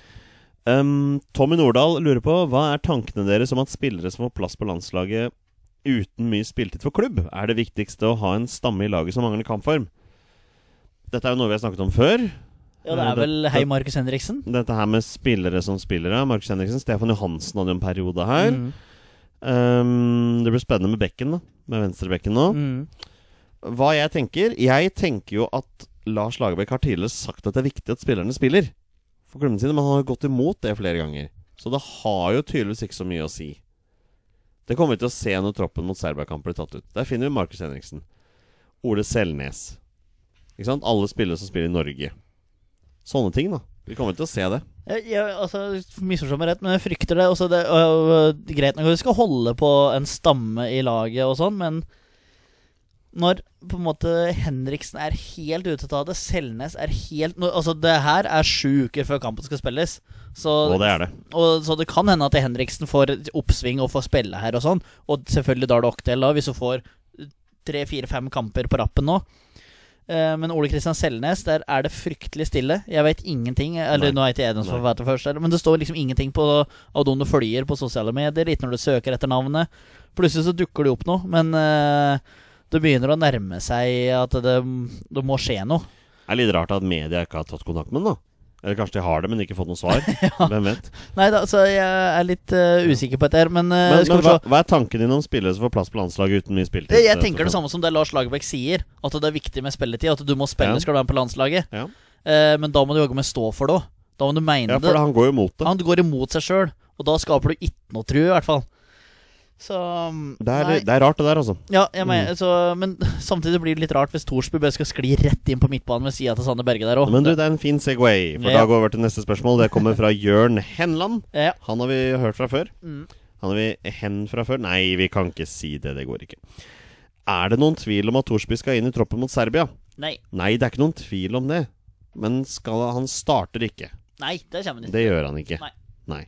S1: Um, Tommy Nordahl lurer på hva er tankene deres om at spillere som får plass på landslaget uten mye spiltid for klubb, er det viktigste å ha en stamme i laget som mangler kampform? Dette er jo noe vi har snakket om før.
S2: Ja, det er vel Hei, Markus Henriksen.
S1: Dette her med spillere som spillere. Markus Henriksen, Stefan Johansen hadde jo en periode her.
S2: Mm.
S1: Um, det blir spennende med bekken, da. Med venstrebekken nå.
S2: Mm.
S1: Hva jeg tenker? Jeg tenker jo at Lars Lagerbäck har tidligere sagt at det er viktig at spillerne spiller for klubbene sine, men han har jo gått imot det flere ganger. Så det har jo tydeligvis ikke så mye å si. Det kommer vi til å se når troppen mot Serbia-kamp blir tatt ut. Der finner vi Markus Henriksen. Ole Selnes. Ikke sant? Alle spillere som spiller i Norge. Sånne ting, da. Vi kommer til å se det.
S2: Jeg, jeg, altså, Misforstå meg rett, men jeg frykter det. Også det øh, øh, greit nok at vi skal holde på en stamme i laget og sånn, men når på en måte Henriksen er helt ute av det, Selnes er helt nå- Altså, det her er sju uker før kampen skal spilles, så,
S1: Og det er det.
S2: og, så det kan hende at Henriksen får et oppsving og får spille her og sånn, og selvfølgelig da er det Octel, da, hvis hun får tre, fire, fem kamper på rappen nå. Eh, Men Ole Kristian Selnes, der er det fryktelig stille. Jeg vet ingenting. Eller
S1: Nei.
S2: nå er ikke jeg den som får vite først, eller- men det står liksom ingenting på Adon du følger på sosiale medier, ikke når du søker etter navnet. Plutselig så dukker det opp noe, men eh, det begynner å nærme seg at det, det må skje noe.
S1: Det er litt rart at media ikke har tatt kontakt med den, da. Eller kanskje de har det, men ikke fått noe [LAUGHS] svar. Hvem vet.
S2: Nei da, så jeg er litt eh, usikker på dette her, men, eh,
S1: Men,
S2: skal
S1: men
S2: vi se.
S1: hva, hva er tanken din om spillere som får plass på landslaget uten mye spilletid?
S2: Jeg, jeg tenker det samme som det Lars Lagerbäck sier, at det er viktig med spilletid. At du må spille
S1: Ja.
S2: skal du være med på landslaget.
S1: Ja.
S2: Eh, men da må du jaggu meg stå for det òg. Da må du mene
S1: Ja, for
S2: det.
S1: han går jo mot det.
S2: Han går imot seg sjøl, og da skaper du ikke noe tru, i hvert fall. Så mm,
S1: Det er,
S2: nei.
S1: det er rart, det der, altså.
S2: Ja, jeg mener, så, men [LAUGHS] samtidig blir det litt rart hvis Thorsby bare skal skli rett inn på midtbanen ved sida til Sanne Berge der òg.
S1: Men du, det er en fin Segway, for da
S2: Ja.
S1: går vi over til neste spørsmål. Det kommer
S2: [LAUGHS]
S1: fra Jørn Henland.
S2: Ja.
S1: Han har vi hørt fra før.
S2: Mm.
S1: Han har vi hen fra før. Nei, vi kan ikke si det. Det går ikke. Er det noen tvil om at Thorsby skal inn i troppen mot Serbia?
S2: Nei.
S1: Nei, det er ikke noen tvil om det. Men skal, han starter ikke.
S2: Nei, det kommer han ikke.
S1: Det gjør han ikke.
S2: Nei.
S1: Nei.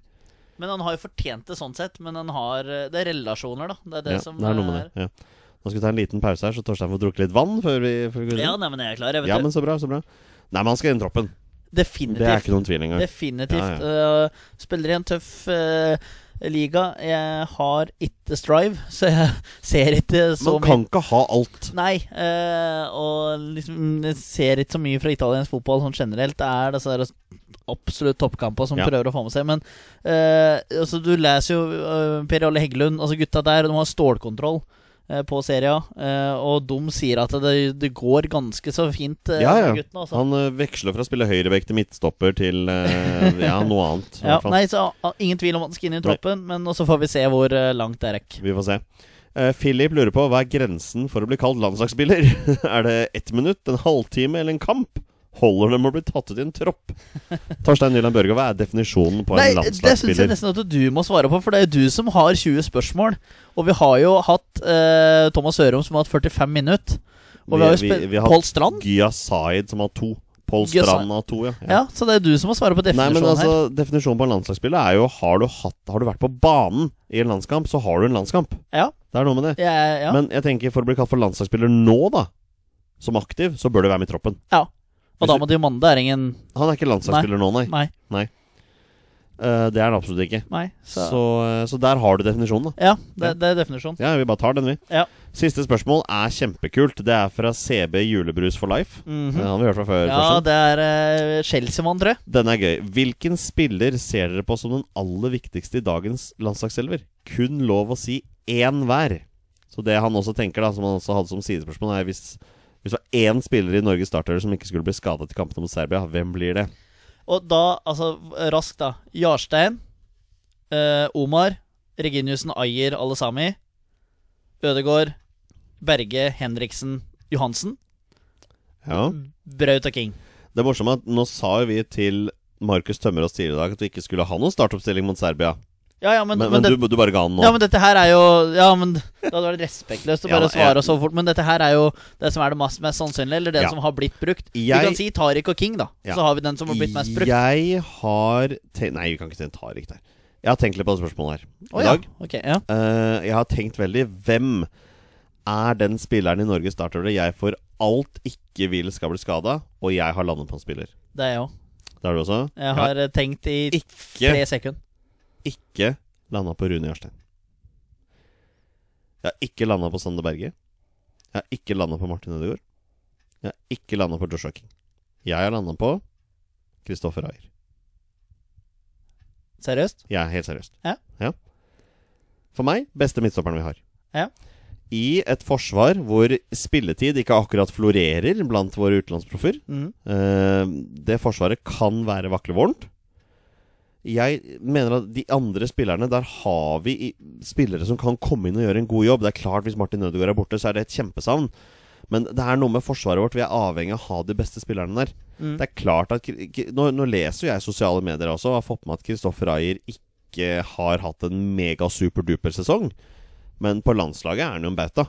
S2: Men han har jo fortjent det sånn sett. Men han har eh, Det er relasjoner, da. Det er det
S1: Ja,
S2: som
S1: det er noe med det. Ja. Nå skal vi ta en liten pause her, så Torstein får drukket litt vann før vi før vi går
S2: Ja,
S1: videre.
S2: nei, men jeg er klar. Jeg vet
S1: Ja,
S2: det.
S1: men så bra, så bra. Nei, men han skal inn i troppen.
S2: Definitivt.
S1: Det er ikke noen tvil engang.
S2: Definitivt.
S1: Ja,
S2: Øh, spiller i en tøff øh, liga. Jeg har ikke Strive, [LAUGHS] så jeg ser ikke så
S1: Man kan ikke ha alt.
S2: Nei, øh, og liksom jeg ser ikke så mye fra italiensk fotball sånn generelt. Det er disse der absolutt toppkamper som
S1: Ja.
S2: prøver å få med seg, men øh, altså, Du leser jo øh, Per Olle Heggelund, altså gutta der, de har stålkontroll. øh, På serien, øh, og de sier at det, det går ganske så fint. øh,
S1: Ja,
S2: med
S1: ja.
S2: Guttene, altså.
S1: Han ø, veksler fra å spille høyrevekt til midtstopper til ø, ja, noe annet. i
S2: [LAUGHS] Ja,
S1: hvert fall.
S2: nei, så ah, Ingen tvil om at han skal inn i troppen, men også får vi se hvor eh, langt det rekker.
S1: Vi får se. Eh, Philip lurer på hva er grensen for å bli kalt landslagsspiller? [LAUGHS] er det ett minutt, en halvtime eller en kamp? Holder det med å bli tatt ut i en
S2: [LAUGHS]
S1: tropp? Torstein Nyland Børge, hva er definisjonen på
S2: Nei,
S1: en
S2: det syns jeg
S1: landslagsspiller?
S2: nesten at du må svare på, for det er jo du som har 20 spørsmål. Og vi har jo hatt eh, Thomas Hørum som har hatt 45 minutter. Og vi, har
S1: Vi-
S2: jo
S1: vi-
S2: spilt
S1: vi har-
S2: Pål Strand.
S1: Gya Zaid som har to. Pål
S2: Gya
S1: Strand har to, ja.
S2: Ja, Så det er du som må svare på
S1: Nei,
S2: definisjonen
S1: men
S2: her.
S1: altså, Definisjonen på en landslagsspiller er jo har du, hatt, har du vært på banen i en landskamp, så har du en landskamp.
S2: Ja,
S1: Det er noe med det.
S2: ja, ja.
S1: Men jeg tenker for å bli kalt for landslagsspiller nå, da, som aktiv, så bør du være med i troppen.
S2: ja. Og da må det jo manne. Det er ingen
S1: Han er ikke landslagsspiller nå, nei.
S2: Nei.
S1: Eh, det er han absolutt ikke.
S2: nei
S1: Så,
S2: så.
S1: eh, så der har du definisjonen, da.
S2: Ja, det, det er definisjonen.
S1: Ja, vi bare tar den, vi.
S2: Ja.
S1: Siste spørsmål er kjempekult. Det er fra CB Julebrus for life.
S2: Mhm.
S1: Den har vi hørt fra før.
S2: Ja,
S1: Torstein.
S2: det er eh, Chelsea-mann, tror jeg.
S1: Denne er gøy. Hvilken spiller ser dere på som den aller viktigste i dagens landslagselver? Kun lov å si én hver. Så det han også tenker, da, som han også hadde som sidespørsmål, er hvis, hvis det var én spiller i Norges starter som ikke skulle bli skada til kampene mot Serbia, hvem blir det?
S2: Og da, altså raskt da Jarstein, eh, Omar, Reginiussen, Ayer, Alesami, Ødegård, Berge, Henriksen, Johansen,
S1: Ja.
S2: Braut og King.
S1: Det morsomme er at nå sa jo vi til Markus Tømmerås tidligere i dag at du ikke skulle ha noen startoppstilling mot Serbia.
S2: Ja, ja, men,
S1: Men, men,
S2: men det,
S1: du, du bare ga den nå.
S2: ja, men dette her er jo Ja, men det hadde vært respektløst å
S1: Ja, da,
S2: bare
S1: jeg-
S2: svare så fort. Men dette her er jo det som er det mest, mest sannsynlige, eller det
S1: Ja.
S2: som har blitt brukt.
S1: Jeg-
S2: Vi kan si Tariq og King, da.
S1: Ja.
S2: Så har vi den som har blitt mest brukt.
S1: Jeg har tenkt Nei, vi kan ikke si en Tariq der. Jeg har tenkt litt på det spørsmålet her i
S2: Å, ja.
S1: dag.
S2: Ok, ja.
S1: Eh, jeg har tenkt veldig Hvem er den spilleren i Norge starter jeg for alt ikke vil skal bli skada, og jeg har landet på en spiller.
S2: Det er jeg òg.
S1: Det har du også?
S2: Jeg har eh, tenkt i
S1: ikke,
S2: tre sekunder.
S1: ikke landa på Rune Jarstein. Jeg har ikke landa på Sander Berge. Jeg har ikke landa på Martin Ødegaard. Jeg har ikke landa på Joshua King. Jeg har landa på Kristoffer Ayer.
S2: Seriøst?
S1: Ja, helt seriøst.
S2: Ja.
S1: For meg, beste midtstopperen vi har.
S2: Ja.
S1: I et forsvar hvor spilletid ikke akkurat florerer blant våre utenlandsproffer.
S2: Mhm.
S1: Eh, det forsvaret kan være vaklevorent. Jeg mener at de andre spillerne, der har vi i- spillere som kan komme inn og gjøre en god jobb. Det er klart Hvis Martin Ødegaard er borte, så er det et kjempesavn. Men det er noe med forsvaret vårt. Vi er avhengig av å ha de beste spillerne der.
S2: Mm.
S1: Det er klart at Kri- Kri- nå, nå leser jo jeg sosiale medier også, og har fått med at Kristoffer Ayer ikke har hatt en mega-superduper sesong. Men på landslaget er han jo en bauta.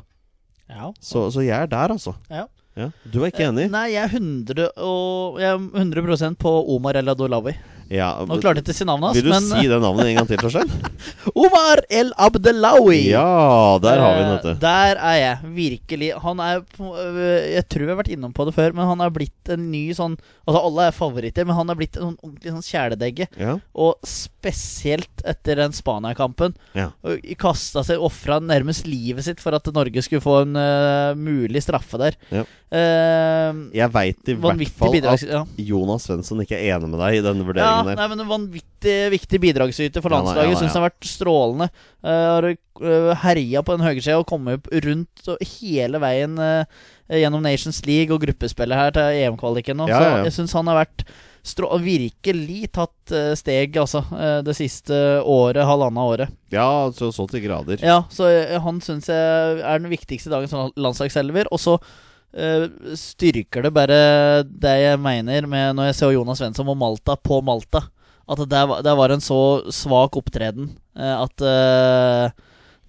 S2: Ja.
S1: Så, så jeg er der, altså.
S2: Ja.
S1: Ja. Du er ikke enig?
S2: Eh, Nei, jeg er 100, og, jeg er 100 på Omar El Adolawi.
S1: Ja,
S2: Nå klarte jeg ikke å si navnet
S1: Vil
S2: hans,
S1: du
S2: men
S1: si det navnet en gang til, Torstein?
S2: [LAUGHS] Omar [LAUGHS] El Abdelawi!
S1: Ja, der har vi
S2: Eh,
S1: den, vet du.
S2: Der er jeg, virkelig. Han er på- øh, Jeg tror jeg har vært innom på det før, men han er blitt en ny sånn Altså, alle er favoritter, men han er blitt en sånn ordentlig sånn kjæledegge.
S1: Ja.
S2: Og spesielt etter den Spania-kampen.
S1: Ja.
S2: Kasta seg, ofra nærmest livet sitt for at Norge skulle få en øh, mulig straffe der.
S1: Ja.
S2: Eh,
S1: Jeg veit i hvert
S2: vanvittig
S1: fall
S2: bidrag.
S1: at
S2: Ja.
S1: Jonas Svensson ikke er enig med deg i denne
S2: Ja,
S1: vurderingen der.
S2: nei, men en vanvittig viktig bidragsyter for
S1: Ja, nei,
S2: landslaget.
S1: ja, nei,
S2: Syns det har vært strålende. Eh, har eh, herja på den høyresida og kommet opp rundt og hele veien eh, gjennom Nations League og gruppespillet her til EM-kvaliken nå.
S1: Ja, ja, ja.
S2: Så jeg syns han har vært strå virkelig tatt eh, steg, altså, eh, det siste året, halvannet året.
S1: Ja, så, så til grader.
S2: Ja, så eh, han syns jeg er den viktigste i dagens lan- landslagselver. Og så eh, styrker det bare det jeg mener med når jeg ser Jonas Svensson og Malta på Malta. At det der, var- der var en så svak opptreden eh, at eh,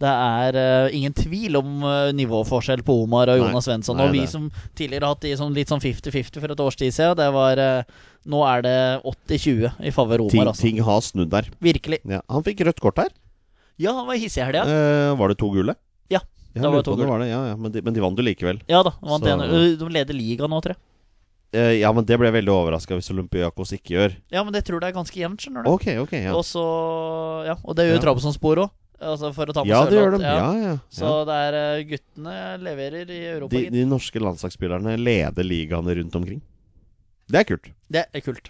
S2: det er eh, ingen tvil om eh, nivåforskjell på Omar og
S1: Nei,
S2: Jonas Svensson.
S1: nei,
S2: og vi
S1: det-
S2: som tidligere har hatt de som litt sånn 50-50 for et års tid siden, det var eh, Nå er det 80-20 i favør
S1: ting,
S2: Omar, altså.
S1: ting har snudd der.
S2: Virkelig.
S1: Ja, han fikk rødt kort her.
S2: Ja, han var hissig i helga.
S1: Eh, var det to gule?
S2: Ja,
S1: Jeg
S2: da var
S1: lurer
S2: det to
S1: på om det
S2: gule.
S1: var det. Ja, ja, men, de, men de vant jo likevel.
S2: Ja da, han vant
S1: Så-
S2: 1-0. de leder ligaen nå, tror jeg.
S1: Eh, ja, men det ble jeg veldig overraska hvis Olympiakos ikke gjør.
S2: Ja, men det tror jeg er ganske jevnt, skjønner du.
S1: Ok, ok, ja.
S2: Og så Ja, og det gjør
S1: Ja.
S2: jo Trabzonspor òg. Altså for å ta med
S1: Ja, det gjør de.
S2: Sørloth,
S1: Ja, ja.
S2: Så
S1: ja.
S2: det er eh, guttene leverer i Europa.
S1: De,
S2: gitt.
S1: de norske landslagsspillerne leder ligaene rundt omkring. Det er kult.
S2: Det er kult.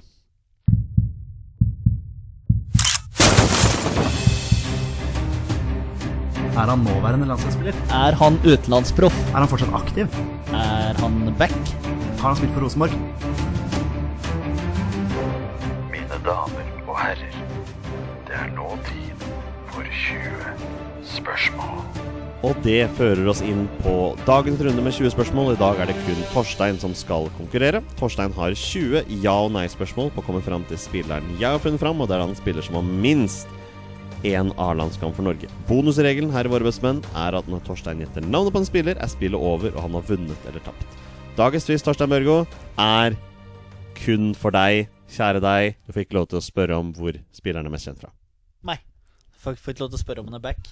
S5: Er han nåværende landslagsspiller?
S2: Er han utenlandsproff?
S5: Er han fortsatt aktiv?
S2: Er han back?
S5: Har han spilt for Rosenborg?
S6: Mine damer og herrer, det er nå tid for 20 spørsmål.
S1: Og det fører oss inn på dagens runde med 20 spørsmål. I dag er det kun Torstein som skal konkurrere. Torstein har 20 ja- og nei-spørsmål på å komme fram til spilleren jeg har funnet fram, og det er han spiller som har minst én A-landskamp for Norge. Bonusregelen her i Våre bestemenn er at når Torstein gjetter navnet på en spiller, er spillet over, og han har vunnet eller tapt. Dagens twist, Torstein Børgo, er kun for deg, kjære deg. Du får ikke lov til å spørre om hvor spilleren er mest kjent fra.
S2: Nei. Får får ikke lov til å spørre om han er back.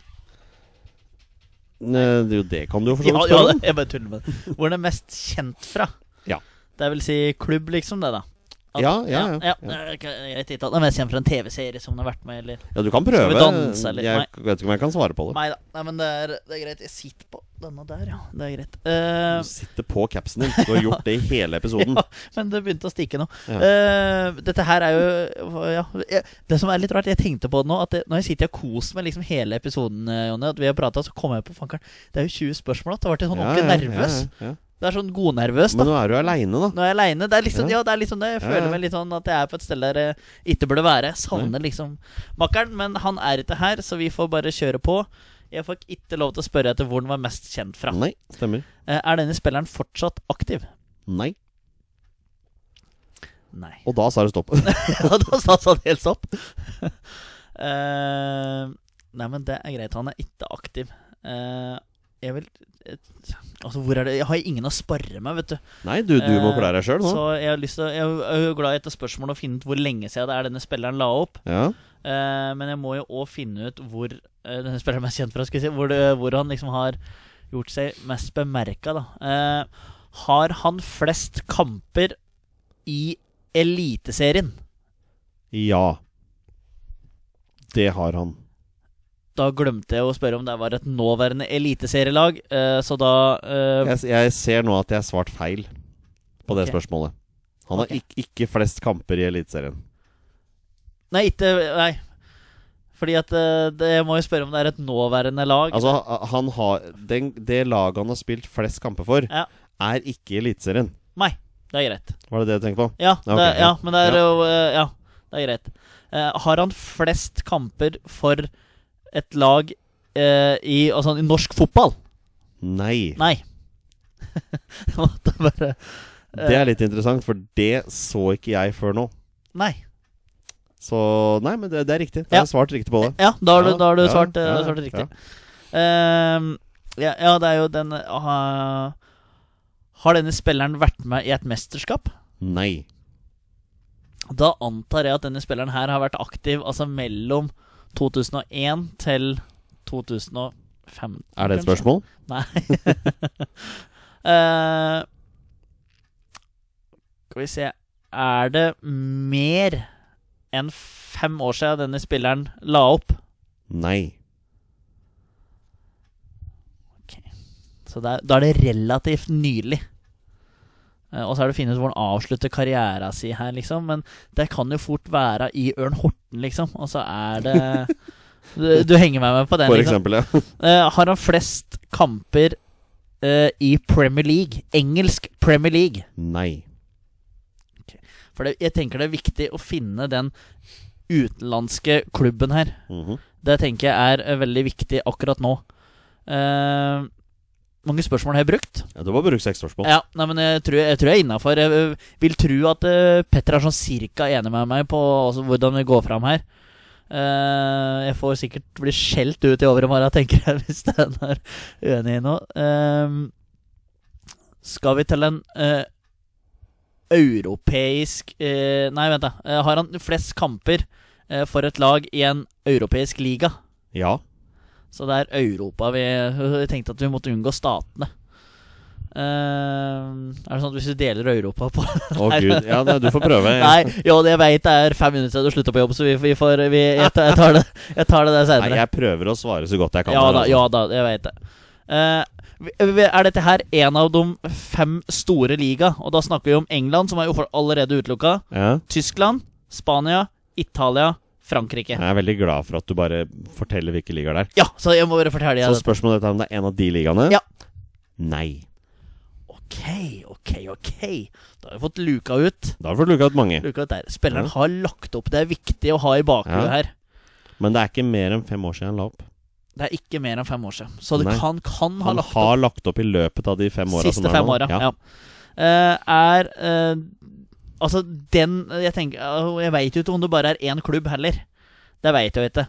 S1: Nei, det er jo det kan du jo for så
S2: Ja,
S1: vidt
S2: ja, [LAUGHS]
S1: spørre om.
S2: det- jeg bare tuller med det. Hvor han er mest kjent fra.
S1: Ja.
S2: Det vil si klubb, liksom, det, da. At-
S1: Ja, ja, ja,
S2: ja, eh, Greit gitt at han er mest kjent fra en TV-serie som han har vært med, eller
S1: Ja, du kan prøve.
S2: Skal vi danse, eller?
S1: Jeg
S2: Nei.
S1: vet ikke om jeg kan svare på det.
S2: Nei da. Nei, men det er, det er greit. Jeg sitter på denne der, ja. Det er greit. Eh,
S1: Du sitter på capsen din.
S2: [LAUGHS]
S1: Du har gjort det i hele episoden.
S2: ja, men det begynte å stikke nå.
S1: Ja.
S2: Eh, dette her er jo ja, jeg- Det som er litt rart, jeg tenkte på det nå, at det, når jeg sitter og koser meg liksom hele episoden, eh, Jonny, at vi har prata, så kommer jeg på fankeren Det er jo 20 spørsmål. At det har vært litt sånn
S1: Ja,
S2: ordentlig
S1: ja,
S2: nervøs.
S1: ja, ja.
S2: Det er sånn godnervøs, da.
S1: Men nå er du aleine, da.
S2: Når jeg er aleine. Det er liksom,
S1: Ja.
S2: ja. det er liksom det. Jeg
S1: Ja,
S2: føler
S1: ja.
S2: meg litt sånn at jeg er på et sted der jeg ikke burde være. Jeg Savner liksom makkeren. Men han er ikke her, så vi får bare kjøre på. Jeg fikk ikke lov til å spørre etter hvor han var mest kjent fra.
S1: Nei. Stemmer.
S2: Eh, Er denne spilleren fortsatt aktiv?
S1: Nei.
S2: Nei.
S1: Og da sa det stopp. [LAUGHS]
S2: [LAUGHS] Ja, da satsa han helt stopp. [LAUGHS] Eh, nei, men det er greit. Han er ikke aktiv. Eh, jeg vil eh, Altså, hvor er det Jeg har ingen å spare med, vet du.
S1: Nei, du, du må
S2: Eh,
S1: klare deg sjøl nå.
S2: Så jeg har lyst til å, Jeg er jo glad i etter spørsmålet å finne ut hvor lenge siden det er denne spilleren la opp.
S1: Ja.
S2: Eh, men jeg må jo òg finne ut hvor eh, denne spilleren er mest kjent fra, skal vi si. Hvor, det, hvor han liksom har gjort seg mest bemerka, da. Eh, har han flest kamper i Eliteserien?
S1: Ja. Det har han.
S2: Da glemte jeg å spørre om det var et nåværende eliteserielag, eh, så da eh,
S1: Jeg, jeg ser nå at jeg har svart feil på det
S2: Ok.
S1: spørsmålet. Han har
S2: Ok.
S1: ikk- ikke flest kamper i Eliteserien.
S2: Nei, ikke Nei. Fordi at eh, det, Jeg må jo spørre om det er et nåværende lag.
S1: Altså, ha- han har den, Det laget han har spilt flest kamper for,
S2: Ja.
S1: er ikke i Eliteserien.
S2: Nei, det er greit.
S1: Var det det du tenkte på?
S2: Ja, det,
S1: Ja, ok,
S2: ja
S1: ja.
S2: men det er
S1: Ja.
S2: jo eh, Ja, det er greit. Eh, har han flest kamper for et lag eh, i, altså, i norsk fotball?
S1: Nei.
S2: Nei. [LAUGHS] Jeg måtte bare eh,
S1: Det er litt interessant, for det så ikke jeg før nå.
S2: Nei.
S1: Så nei, men det, det er riktig. Jeg
S2: Ja.
S1: har svart riktig på det.
S2: Ja, da har du,
S1: Ja,
S2: da har du
S1: ja,
S2: svart, eh,
S1: ja,
S2: svart
S1: ja.
S2: riktig. Ehm, ja, ja, det er jo den eh, ha- Har denne spilleren vært med i et mesterskap?
S1: Nei.
S2: Da antar jeg at denne spilleren her har vært aktiv altså mellom 2001 til 2005.
S1: Er det et spørsmål?
S2: Nei. [LAUGHS] Eh, skal vi se Er det mer enn fem år siden denne spilleren la opp?
S1: Nei.
S2: Så det er, da er det relativt nylig. Eh, og så er det å finne ut hvor han avslutter karriera si her, liksom. Men det kan jo fort være i Ørn Horten, liksom. Og så er det
S1: [LAUGHS]
S2: du, du henger meg med på den,
S1: For
S2: liksom.
S1: eksempel, ja. [LAUGHS]
S2: Eh, har han flest kamper eh, i Premier League? Engelsk Premier League.
S1: Nei.
S2: For det, jeg tenker det er viktig å finne den utenlandske klubben her.
S1: Mhm.
S2: Det tenker jeg er eh, veldig viktig akkurat nå. Eh, mange spørsmål har jeg brukt.
S1: ja, du må bruke seks spørsmål.
S2: Ja, nei, men jeg tror jeg, tror jeg er innafor. Jeg ø, vil tro at ø, Petter er sånn cirka enig med meg på altså, hvordan vi går fram her. Eh, jeg får sikkert bli skjelt ut i over i morgen, [LAUGHS] tenker jeg, hvis den er uenig i noe. Ehm, skal vi til en eh, europeisk eh, Nei, vent, da. Eh, har han flest kamper eh, for et lag i en europeisk liga? [LAUGHS]
S1: Ja.
S2: Så det er Europa vi vi tenkte at vi måtte unngå statene. Ehm, er det sånn at hvis du deler Europa på [LAUGHS]
S1: Å gud. Ja, nei, du får prøve.
S2: Nei, jo, det jeg veit det er fem minutter siden du slutta på jobb, så vi, vi får vi, jeg, tar, jeg, tar det, jeg tar det der
S1: Nei,
S2: seinere.
S1: jeg prøver å svare så godt jeg kan.
S2: Ja
S1: her,
S2: da,
S1: altså.
S2: ja da, jeg veit det. Eh, vi- vi- er dette her en av de fem store liga? Og da snakker vi om England, som er jo for- allerede utelukka.
S1: Ja.
S2: Tyskland, Spania, Italia, Frankrike.
S1: Jeg er veldig glad for at du bare forteller hvilke ligaer det er.
S2: Ja, så jeg må bare fortelle deg
S1: Så
S2: det.
S1: spørsmålet er om det er en av de ligaene.
S2: Ja.
S1: Nei.
S2: Ok, ok, ok. Da har vi fått luka ut.
S1: Da har vi fått luka ut mange.
S2: Luka ut der. Spilleren
S1: Ja.
S2: har lagt opp. Det er viktig å ha i bakhodet
S1: Ja.
S2: her.
S1: Men det er ikke mer enn fem år siden han la opp.
S2: Det er ikke mer enn fem år siden. Så det
S1: Nei.
S2: kan, kan ha
S1: Han
S2: lagt
S1: har lagt opp i løpet av de fem altså
S2: opp
S1: åra.
S2: siste fem åra. Ja. Eh, er eh, Altså, den Jeg tenker eh, Jeg veit jo ikke om det bare er én klubb heller. Det veit jeg jo ikke.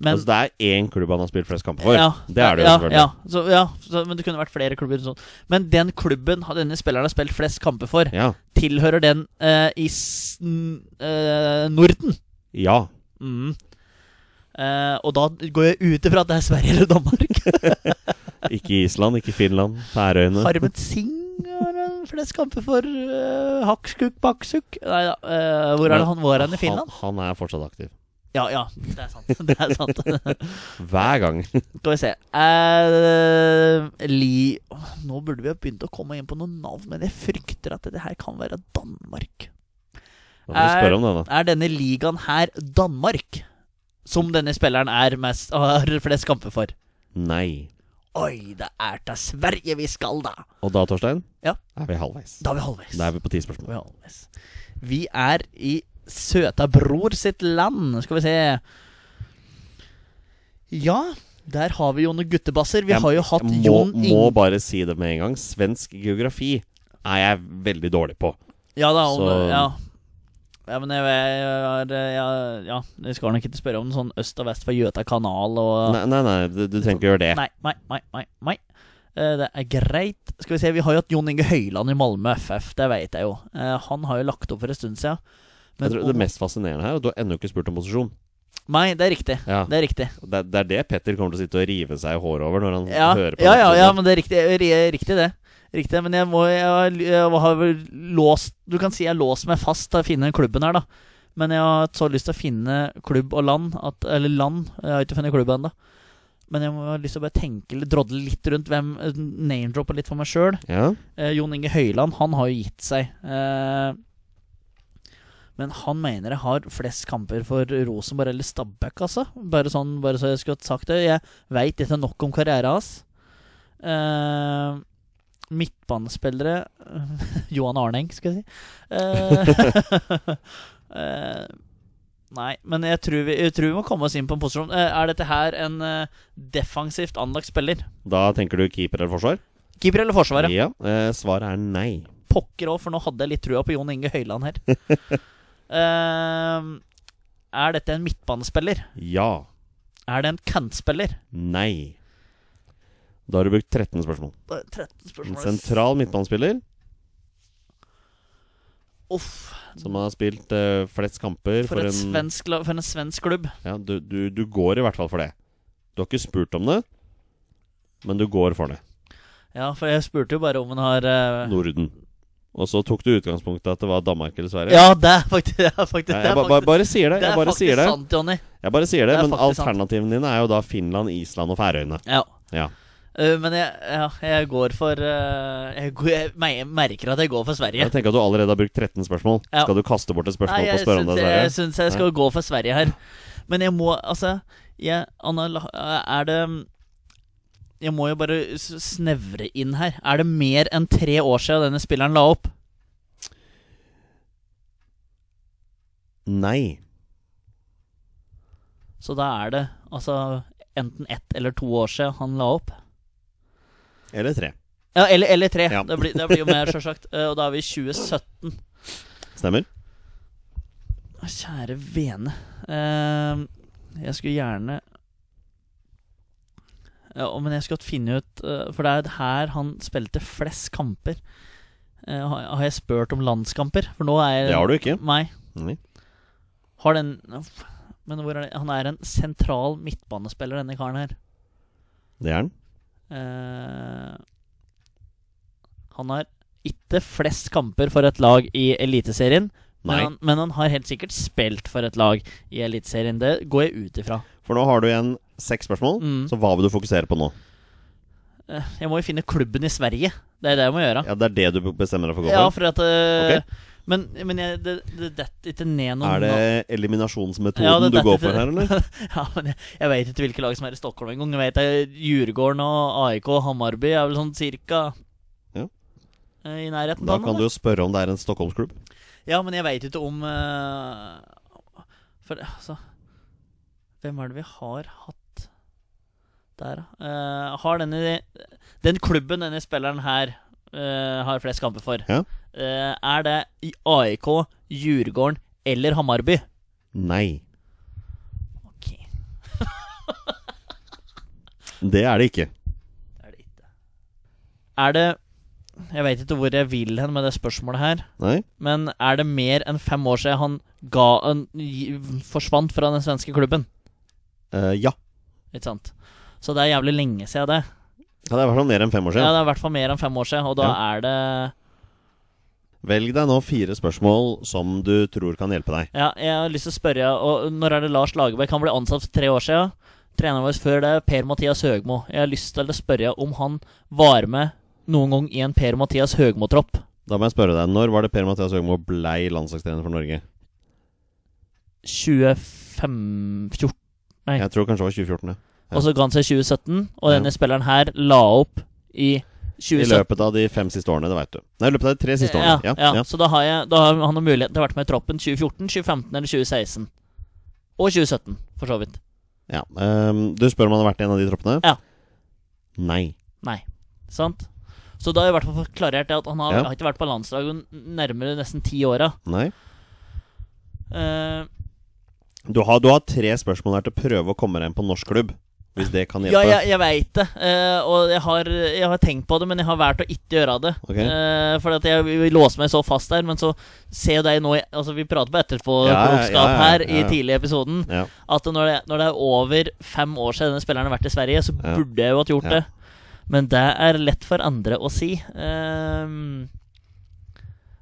S2: Men
S1: altså, det er én klubb han har spilt flest kamper for.
S2: Ja.
S1: det er det jo
S2: ja,
S1: selvfølgelig.
S2: ja, så, ja så, men det kunne vært flere klubber. Sånn. Men den klubben har- denne spilleren har spilt flest kamper for,
S1: Ja.
S2: tilhører den eh, i s n- eh, Norden.
S1: ja.
S2: Mm. Eh, og da går jeg ut ifra at det er Sverige eller Danmark.
S1: Ikke Island, ikke Finland, Færøyene.
S2: Harmet Singh har en flest kamper for uh, Hakskuk Baksuk. Nei da, eh, hvor er det han var hen i Finland?
S1: Han, han er fortsatt aktiv.
S2: Ja, ja, det er sant. [LAUGHS] Det er sant. [LAUGHS]
S1: Hver gang. [LAUGHS]
S2: Skal vi se Eh, Li Åh, Nå burde vi ha begynt å komme inn på noen navn, men jeg frykter at dette her kan være Danmark.
S1: Da må du
S2: Er-
S1: spørre om denne.
S2: Er denne ligaen her Danmark? Som denne spilleren er mest, har flest kamper for.
S1: Nei.
S2: Oi, det er til Sverige vi skal, da!
S1: Og da, Torstein,
S2: Ja.
S1: er vi halvveis.
S2: Da er vi halvveis.
S1: Da er vi på ti spørsmål.
S2: vi halvveis. Vi er i søta bror sitt land. Skal vi se Ja, der har vi jo noen guttebasser. Vi
S1: Jeg-
S2: har jo hatt
S1: jeg må,
S2: Jon Ing...
S1: må bare si det med en gang. Svensk geografi er jeg veldig dårlig på.
S2: Ja da, om,
S1: så-
S2: ja. ja, men jeg, jeg, jeg, jeg, ja, jeg skal nok ikke spørre om sånn øst og vest for Gjøta kanal og
S1: Nei, nei, nei du, du trenger ikke gjøre det.
S2: Nei, nei, nei, nei, nei. Eh, Det er greit. Skal vi se, vi har jo hatt Jon Inge Høyland i Malmö FF, det vet jeg jo. Eh, Han har jo lagt opp for en stund siden. Men
S1: Jeg tror
S2: om-
S1: det mest fascinerende her er at du har ennå ikke spurt om posisjon.
S2: Nei, det er riktig.
S1: Ja.
S2: Det er riktig.
S1: Det, det er det Petter kommer til å sitte og rive seg i håret over når han
S2: Ja,
S1: hører på
S2: ja,
S1: den
S2: ja,
S1: episoden.
S2: ja, men det er riktig, eh, ri- riktig det. Riktig, men jeg må jeg, har- jeg har vel låst Du kan si jeg låser meg fast til å finne klubben her, da. Men jeg har så lyst til å finne klubb og land at, Eller land. Jeg har ikke funnet klubb ennå. Men jeg må ha lyst til å bare tenke litt, drodle litt rundt hvem Name-droppe litt for meg sjøl.
S1: Ja.
S2: Eh, Jon Inge Høyland, han har jo gitt seg. Eh, men han mener jeg har flest kamper for Rosenborg eller Stabæk, altså. Bare, sånn, bare så jeg skulle ha sagt det. Jeg veit ikke nok om karrieren hans. Eh, midtbanespillere [LAUGHS] Johan Arneng, skal jeg si. Eh, [LAUGHS] eh, nei, men jeg tror, vi, jeg tror vi må komme oss inn på en posisjon. Eh, er dette her en eh, defensivt anlagt spiller?
S1: Da tenker du keeper eller forsvar?
S2: Keeper eller forsvaret?
S1: Ja. Eh, svaret er nei.
S2: pokker òg, for nå hadde jeg litt trua på Jon Inge Høyland her.
S1: [LAUGHS]
S2: Ehm, er dette en midtbanespiller?
S1: Ja.
S2: Er det en kantspiller?
S1: Nei. Da har du brukt 13 spørsmål.
S2: Det er 13
S1: En
S2: spørsmål.
S1: sentral midtbanespiller
S2: Uff,
S1: som har spilt eh, flest kamper
S2: for,
S1: for,
S2: et
S1: en
S2: svensk, la- for en svensk klubb.
S1: ja, du, du, du går i hvert fall for det. Du har ikke spurt om det, men du går for det.
S2: Ja, for jeg spurte jo bare om han har eh,
S1: Norden. Og så tok du utgangspunktet at det var Danmark eller Sverige.
S2: Ja, det er faktisk [LAUGHS] det. Er faktisk,
S1: Nei,
S2: det
S1: jeg
S2: er
S1: ba, ba,
S2: faktisk,
S1: bare sier det.
S2: det er
S1: Jeg bare
S2: faktisk
S1: sier det.
S2: sant, Jonny.
S1: Jeg bare sier det,
S2: Det er
S1: Men
S2: faktisk sant.
S1: alternativene dine er jo da Finland, Island og Færøyene.
S2: Ja.
S1: Ja.
S2: Eh, men jeg, ja, jeg går for eh, jeg, går- jeg, me- jeg merker at jeg går for Sverige.
S1: Jeg tenker at du allerede har brukt 13 spørsmål.
S2: Ja.
S1: Skal du kaste bort et spørsmål
S2: Nei,
S1: på
S2: jeg
S1: å spørre om
S2: syns
S1: det?
S2: jeg,
S1: Sverre?
S2: jeg, syns jeg skal gå for Sverige her. Men jeg må Altså, jeg, Anna, er det Jeg må jo bare s- snevre inn her. Er det mer enn tre år siden denne spilleren la opp?
S1: Nei.
S2: Så da er det altså enten ett eller to år siden han la opp.
S1: Eller tre.
S2: Ja, eller, eller tre.
S1: Ja.
S2: Det, blir, det blir jo mer, sjølsagt. Eh, Og da er vi i 2017.
S1: Stemmer.
S2: Å, Ah, Kjære vene. Ehm, jeg skulle gjerne ja, og- Men jeg skulle hatt finne ut eh, For det er her han spilte flest kamper. Eh, har, har jeg spurt om landskamper? For nå er jeg
S1: Det har du ikke.
S2: Nei.
S1: Nei.
S2: Har den Uff. Men hvor er det? han er en sentral midtbanespiller, denne karen her.
S1: Det er den.
S2: Eh, han har ikke flest kamper for et lag i Eliteserien. Men
S1: Nei.
S2: han, men han har helt sikkert spilt for et lag i Eliteserien. Det går jeg ut ifra.
S1: For nå har du igjen seks spørsmål,
S2: Mm.
S1: så hva vil du fokusere på nå?
S2: Eh, Jeg må jo finne klubben i Sverige. Det er det jeg må gjøre.
S1: Ja, Det er det du bestemmer deg for å gå
S2: Ja,
S1: for?
S2: for at eh,
S1: Ok.
S2: Men, men jeg, det det detter ikke ned noen
S1: Er det eliminasjonsmetoden
S2: Ja, det-
S1: du
S2: det-
S1: går for her, eller?
S2: [LAUGHS] Ja, men jeg, jeg veit ikke hvilke lag som er i Stockholm engang. Jeg vet det er Djurgården og AIK og Hammarby er vel sånn cirka
S1: Ja.
S2: eh, i nærheten.
S1: Da
S2: av
S1: kan
S2: noe,
S1: du jo spørre om det er en Stockholmsklubb.
S2: Ja, men jeg veit ikke om eh, For altså Hvem er det vi har hatt der, da? Eh, har denne Den klubben denne spilleren her eh, har flest kamper for,
S1: Ja.
S2: eh, er det i AIK, Djurgården eller Hammarby?
S1: Nei.
S2: Ok,
S1: Det er det ikke.
S2: det er det ikke. Er det Jeg veit ikke hvor jeg vil hen med det spørsmålet her,
S1: Nei.
S2: men er det mer enn fem år siden han ga, han gi- forsvant fra den svenske klubben?
S1: Eh, ja.
S2: Ikke sant? Så det er jævlig lenge siden det.
S1: Ja, Det er i hvert fall sånn mer enn fem år
S2: Ja,
S1: siden.
S2: Det er i hvert fall mer enn fem år siden, og da er det
S1: Velg deg nå fire spørsmål som du tror kan hjelpe deg.
S2: Ja, jeg har lyst til å spørre, og når er det Lars Lagerbäck? Han ble ansatt for tre år siden. Treneren vår før det, Per-Mathias Høgmo. Jeg har lyst til å spørre om han var med noen gang i en Per-Mathias Høgmo-tropp.
S1: Da må jeg spørre deg, når var det Per-Mathias Høgmo blei landslagstrener for Norge?
S2: 2014. Nei.
S1: Jeg tror kanskje det var 2014, ja.
S2: Og så ga han seg i 2017, og
S1: Ja.
S2: denne spilleren her la opp i
S1: I
S2: 2017.
S1: løpet av de fem siste årene, det veit du. Nei, i løpet av de tre siste
S2: Ja,
S1: årene. Ja,
S2: ja.
S1: ja.
S2: Så da har, jeg, da har han muligheten til å ha vært med i troppen 2014, 2015 eller 2016. Og 2017, for så vidt.
S1: ja. Ehm, du spør om han har vært i en av de troppene?
S2: Ja.
S1: Nei.
S2: Nei, sant? Så da har jeg i hvert fall fått klarert det at han har,
S1: Ja.
S2: har ikke vært på landslaget nærmere nesten ti åra.
S1: Nei.
S2: Eh,
S1: Du har, du har tre spørsmål her til å prøve å komme deg inn på norsk klubb. Hvis det kan
S2: Ja,
S1: hjelpe.
S2: jeg, jeg veit det. eh, og jeg har, jeg har tenkt på det, men jeg har valgt å ikke gjøre det.
S1: Ok.
S2: Eh, fordi at jeg vil låse meg så fast der. Men så ser jo deg nå i- Altså, vi prater på
S1: Ja, ja,
S2: etterpåklokskap
S1: ja, ja,
S2: her i
S1: ja.
S2: tidlig i episoden.
S1: Ja.
S2: At når det, når det er over fem år siden denne spilleren har vært i Sverige, så
S1: Ja.
S2: burde jeg jo hatt gjort
S1: Ja.
S2: det. Men det er lett for andre å si. Ehm,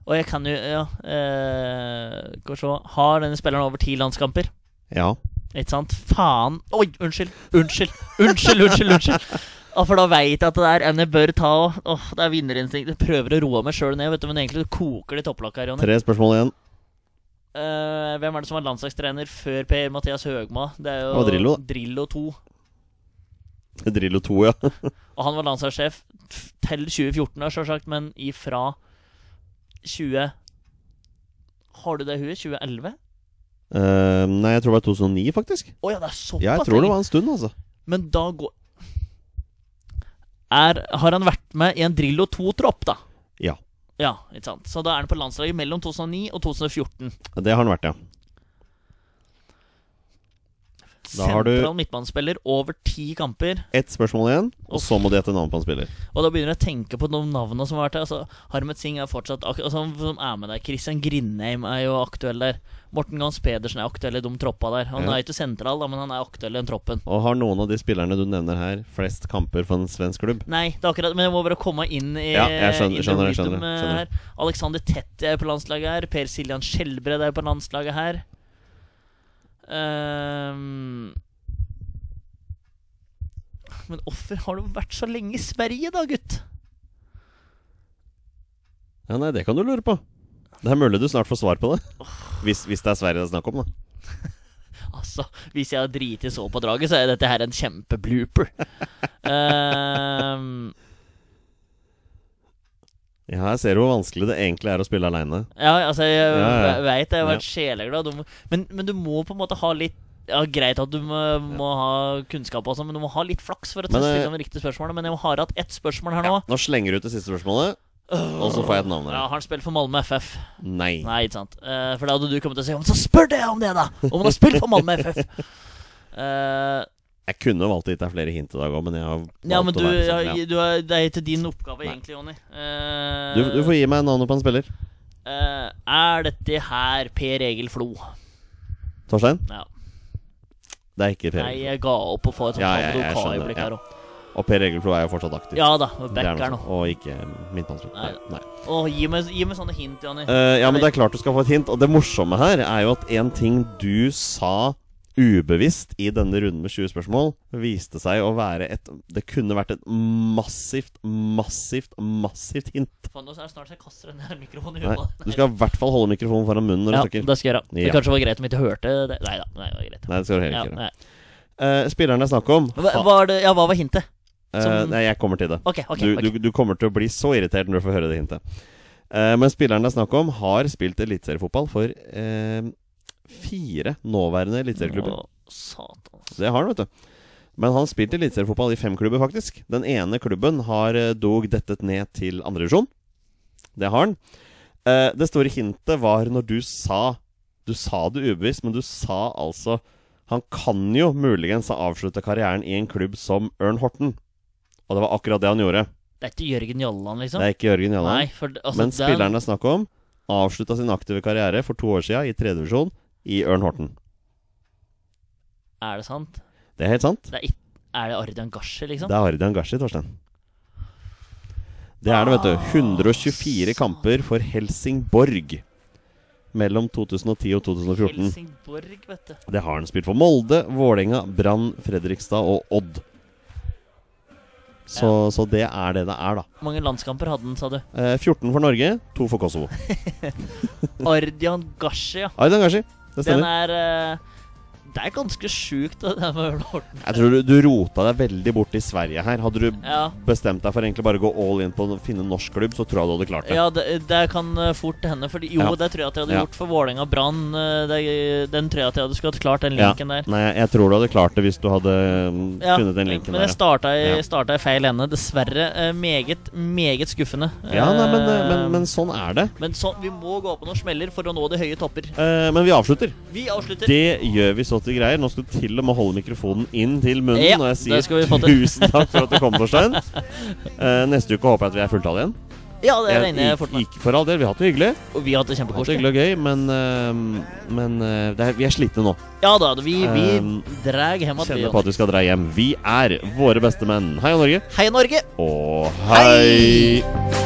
S2: og jeg kan jo Ja. eh, Skal vi se Har denne spilleren over ti landskamper?
S1: ja.
S2: Ikke sant? Faen. Oi, unnskyld. Unnskyld, unnskyld, unnskyld. unnskyld. Ja, for da veit jeg at det der enn jeg bør ta og- Åh, det er vinnerinstinkt. Jeg prøver å roe meg sjøl ned, vet du, men egentlig koker det i topplokket her, Jonny.
S1: Tre spørsmål igjen.
S2: Eh, hvem er det som var landslagstrener før Per Mathias Høgma? Det er jo
S1: Det var Drillo, da.
S2: Drillo 2.
S1: Drillo 2, ja.
S2: Og han var landslagssjef f- til 2014, da, selvsagt, men ifra 20 Har du det i huet? 2011?
S1: Eh, nei, jeg tror det var 2009, faktisk.
S2: Å ja, det er såpass!
S1: Ja, jeg tror det var en stund, altså.
S2: Men da går er, Har han vært med i en Drillo 2-tropp, da?
S1: Ja.
S2: Ja, ikke sant. Så da er han på landslaget mellom 2009 og 2014.
S1: Det har han vært, ja. Da har du-
S2: Sentral midtbanespiller over ti kamper.
S1: Ett spørsmål igjen, og så må de gjette navnet på en spiller.
S2: Og da begynner jeg å tenke på noen navn som har vært der. Altså, Harmet Singh er fortsatt ak altså, han som er med der. Christian Grindheim er jo aktuell der. Morten Gans Pedersen er aktuell i de troppa der. Han
S1: Ja.
S2: er ikke sentral, da, men han er aktuell i den troppen.
S1: Og har noen av de spillerne du nevner her, flest kamper for en svensk klubb?
S2: Nei, det er akkurat Men jeg må bare komme inn i
S1: Ja, jeg skjønner-
S2: inn i
S1: skjønner,
S2: rhythm,
S1: skjønner,
S2: eh,
S1: skjønner.
S2: her. Alexander Tett er på landslaget her. Per Siljan Skjelbred er på landslaget her. Ehm, men hvorfor har du vært så lenge i Sverige, da, gutt?
S1: Ja, Nei, det kan du lure på. Det er mulig du snart får svar på det. Hvis, hvis det er Sverige det er snakk om, da.
S2: Altså, hvis jeg har driti så på draget, så er dette her
S1: [LAUGHS]
S2: en kjempeblooper. Ehm,
S1: Ja, her ser du hvor vanskelig det egentlig er å spille aleine.
S2: ja, altså, jeg
S1: Ja, ja.
S2: veit jeg har
S1: Ja.
S2: vært sjeleglad. Du må- Men, men du må på en måte ha litt ja, Greit at du må, må ha kunnskap, og sånn, men du må ha litt flaks for å
S1: Men,
S2: stille
S1: eh,
S2: de riktige spørsmålene. Men jeg har hatt ett spørsmål her nå.
S1: Nå slenger du ut det siste spørsmålet, og så får jeg et navn
S2: Ja,
S1: her.
S2: Har han spilt for Malmö FF?
S1: Nei.
S2: Nei, ikke sant. Eh, for da hadde du kommet til å si «Ja, men Så spør det om det, da! Om han har spilt for Malmö
S1: [LAUGHS]
S2: FF! Eh,
S1: Jeg kunne valgt å gitt deg flere hint i dag òg, men jeg har valgt
S2: ja, men
S1: å
S2: du,
S1: være
S2: ja,
S1: sånn. Ja.
S2: du er, Det er ikke din oppgave,
S1: Nei.
S2: egentlig, Jonny. Eh,
S1: Du, du får gi meg navnet på en spiller.
S2: Eh, er dette her Per Egil Flo?
S1: Torstein?
S2: Ja.
S1: Det er ikke Per
S2: Nei,
S1: Egil.
S2: jeg ga opp å få et sånt
S1: Ja, ja,
S2: ja,
S1: jeg skjønner,
S2: Adokai-øyeblikk
S1: ja.
S2: her òg.
S1: Og Per Egelflo er jo fortsatt aktiv.
S2: Ja da,
S1: Det er
S2: back her nå.
S1: noe sånt. Og ikke midtbanespiller. Nei.
S2: Nei.
S1: Nei.
S2: Åh, gi, meg, gi meg sånne hint, Jonny.
S1: Eh, ja, men det er klart du skal få et hint. Og det morsomme her er jo at en ting du sa ubevisst i denne runden med 20 spørsmål, viste seg å være et Det kunne vært et massivt, massivt, massivt hint.
S2: Faen, nå er det snart så jeg kaster den her mikrofonen i
S1: Nei,
S2: hodet.
S1: du skal i hvert fall holde mikrofonen foran munnen når
S2: Ja,
S1: du snakker.
S2: det skal jeg gjøre. Det
S1: Ja.
S2: kanskje var greit om jeg ikke hørte det. Nei da. Nei, det var greit.
S1: Nei, det skal du heller
S2: Ja,
S1: ikke gjøre.
S2: nei.
S1: Eh, spilleren det er snakk om
S2: Hva, var det, ja, hva var hintet?
S1: Eh,
S2: som-
S1: Nei, jeg kommer til det.
S2: Ok, ok.
S1: du,
S2: ok.
S1: Du, du kommer til å bli så irritert når du får høre det hintet. Eh, men spilleren det er snakk om, har spilt eliteseriefotball for eh, fire nåværende eliteserieklubber.
S2: Å, satan. altså.
S1: Det har han, vet du. Men han spilte eliteseriefotball i fem klubber, faktisk. Den ene klubben har eh, dog dettet ned til andredivisjon. Det har han. Eh, det store hintet var når du sa Du sa det ubevisst, men du sa altså Han kan jo muligens ha avslutta karrieren i en klubb som Ørn Horten. Og det var akkurat det han gjorde.
S2: Det er ikke Jørgen Jalland, liksom?
S1: Det er ikke Jørgen Jalland.
S2: Nei, for altså,
S1: Men
S2: den-
S1: spilleren det er snakk om, avslutta sin aktive karriere for to år sia i tredjedivisjon i Ørn Horten.
S2: Er det sant?
S1: Det er helt sant.
S2: Det er, ikke, er det Ardian Gashi, liksom?
S1: Det er Ardian Gashi, Torstein. Det er det, vet
S2: Ah.
S1: du. 124 kamper for Helsingborg mellom 2010 og 2014.
S2: Helsingborg, vet du.
S1: Det har han spilt for Molde, Vålerenga, Brann, Fredrikstad og Odd. Så, så det er det det er, da.
S2: Hvor mange landskamper hadde han, sa du?
S1: Eh, 14 for Norge, 2 for Kosovo.
S2: Ardian Gashi, ja.
S1: Ardian Gashi, det
S2: Den
S1: stemmer.
S2: er eh, Det er ganske sjukt, det der med Ørn Horten.
S1: Jeg tror du, du rota deg veldig bort i Sverige her. Hadde du
S2: Ja.
S1: bestemt deg for egentlig bare å gå all in på å finne en norsk klubb, så tror jeg du hadde klart det.
S2: Ja, det, det kan eh, fort hende. Fordi, jo,
S1: Ja.
S2: det tror jeg at jeg hadde
S1: Ja.
S2: gjort for Vålerenga Brann. eh, det- Den tror jeg at jeg hadde skulle hatt klart, den
S1: Ja.
S2: linken der.
S1: Nei, jeg tror du hadde klart det hvis du hadde mm,
S2: Ja,
S1: funnet den linken
S2: men
S1: der.
S2: jeg starta i,
S1: Ja.
S2: starta i feil ende, dessverre. Eh, Meget, meget skuffende.
S1: Ja, nei, men, eh, men,
S2: Eh,
S1: men sånn er det.
S2: men så, vi må gå på noen smeller for å nå de høye topper.
S1: Eh, men vi avslutter.
S2: Vi avslutter.
S1: Det gjør vi så flotte greier. Nå skal du til og med holde mikrofonen inn til munnen
S2: Ja,
S1: når jeg
S2: det skal vi
S1: sier
S2: få til.
S1: tusen takk for at du kom, Torstein. Eh, neste uke håper jeg at vi er fulltallige igjen.
S2: Ja, det
S1: Jeg-
S2: regner jeg
S1: ik-
S2: fort med.
S1: ik- for all del, vi har hatt det hyggelig.
S2: Og vi har hatt det
S1: Vi har hatt det
S2: kjempekoselig.
S1: hyggelig og gøy, men, eh, men eh, det er, vi er slitne nå.
S2: Ja da, vi, vi
S1: Um,
S2: drar hjem at vi
S1: Kjenner på at vi skal dra hjem. Vi er våre beste menn. Hei, Norge.
S2: Hei, Norge!
S1: Og hei.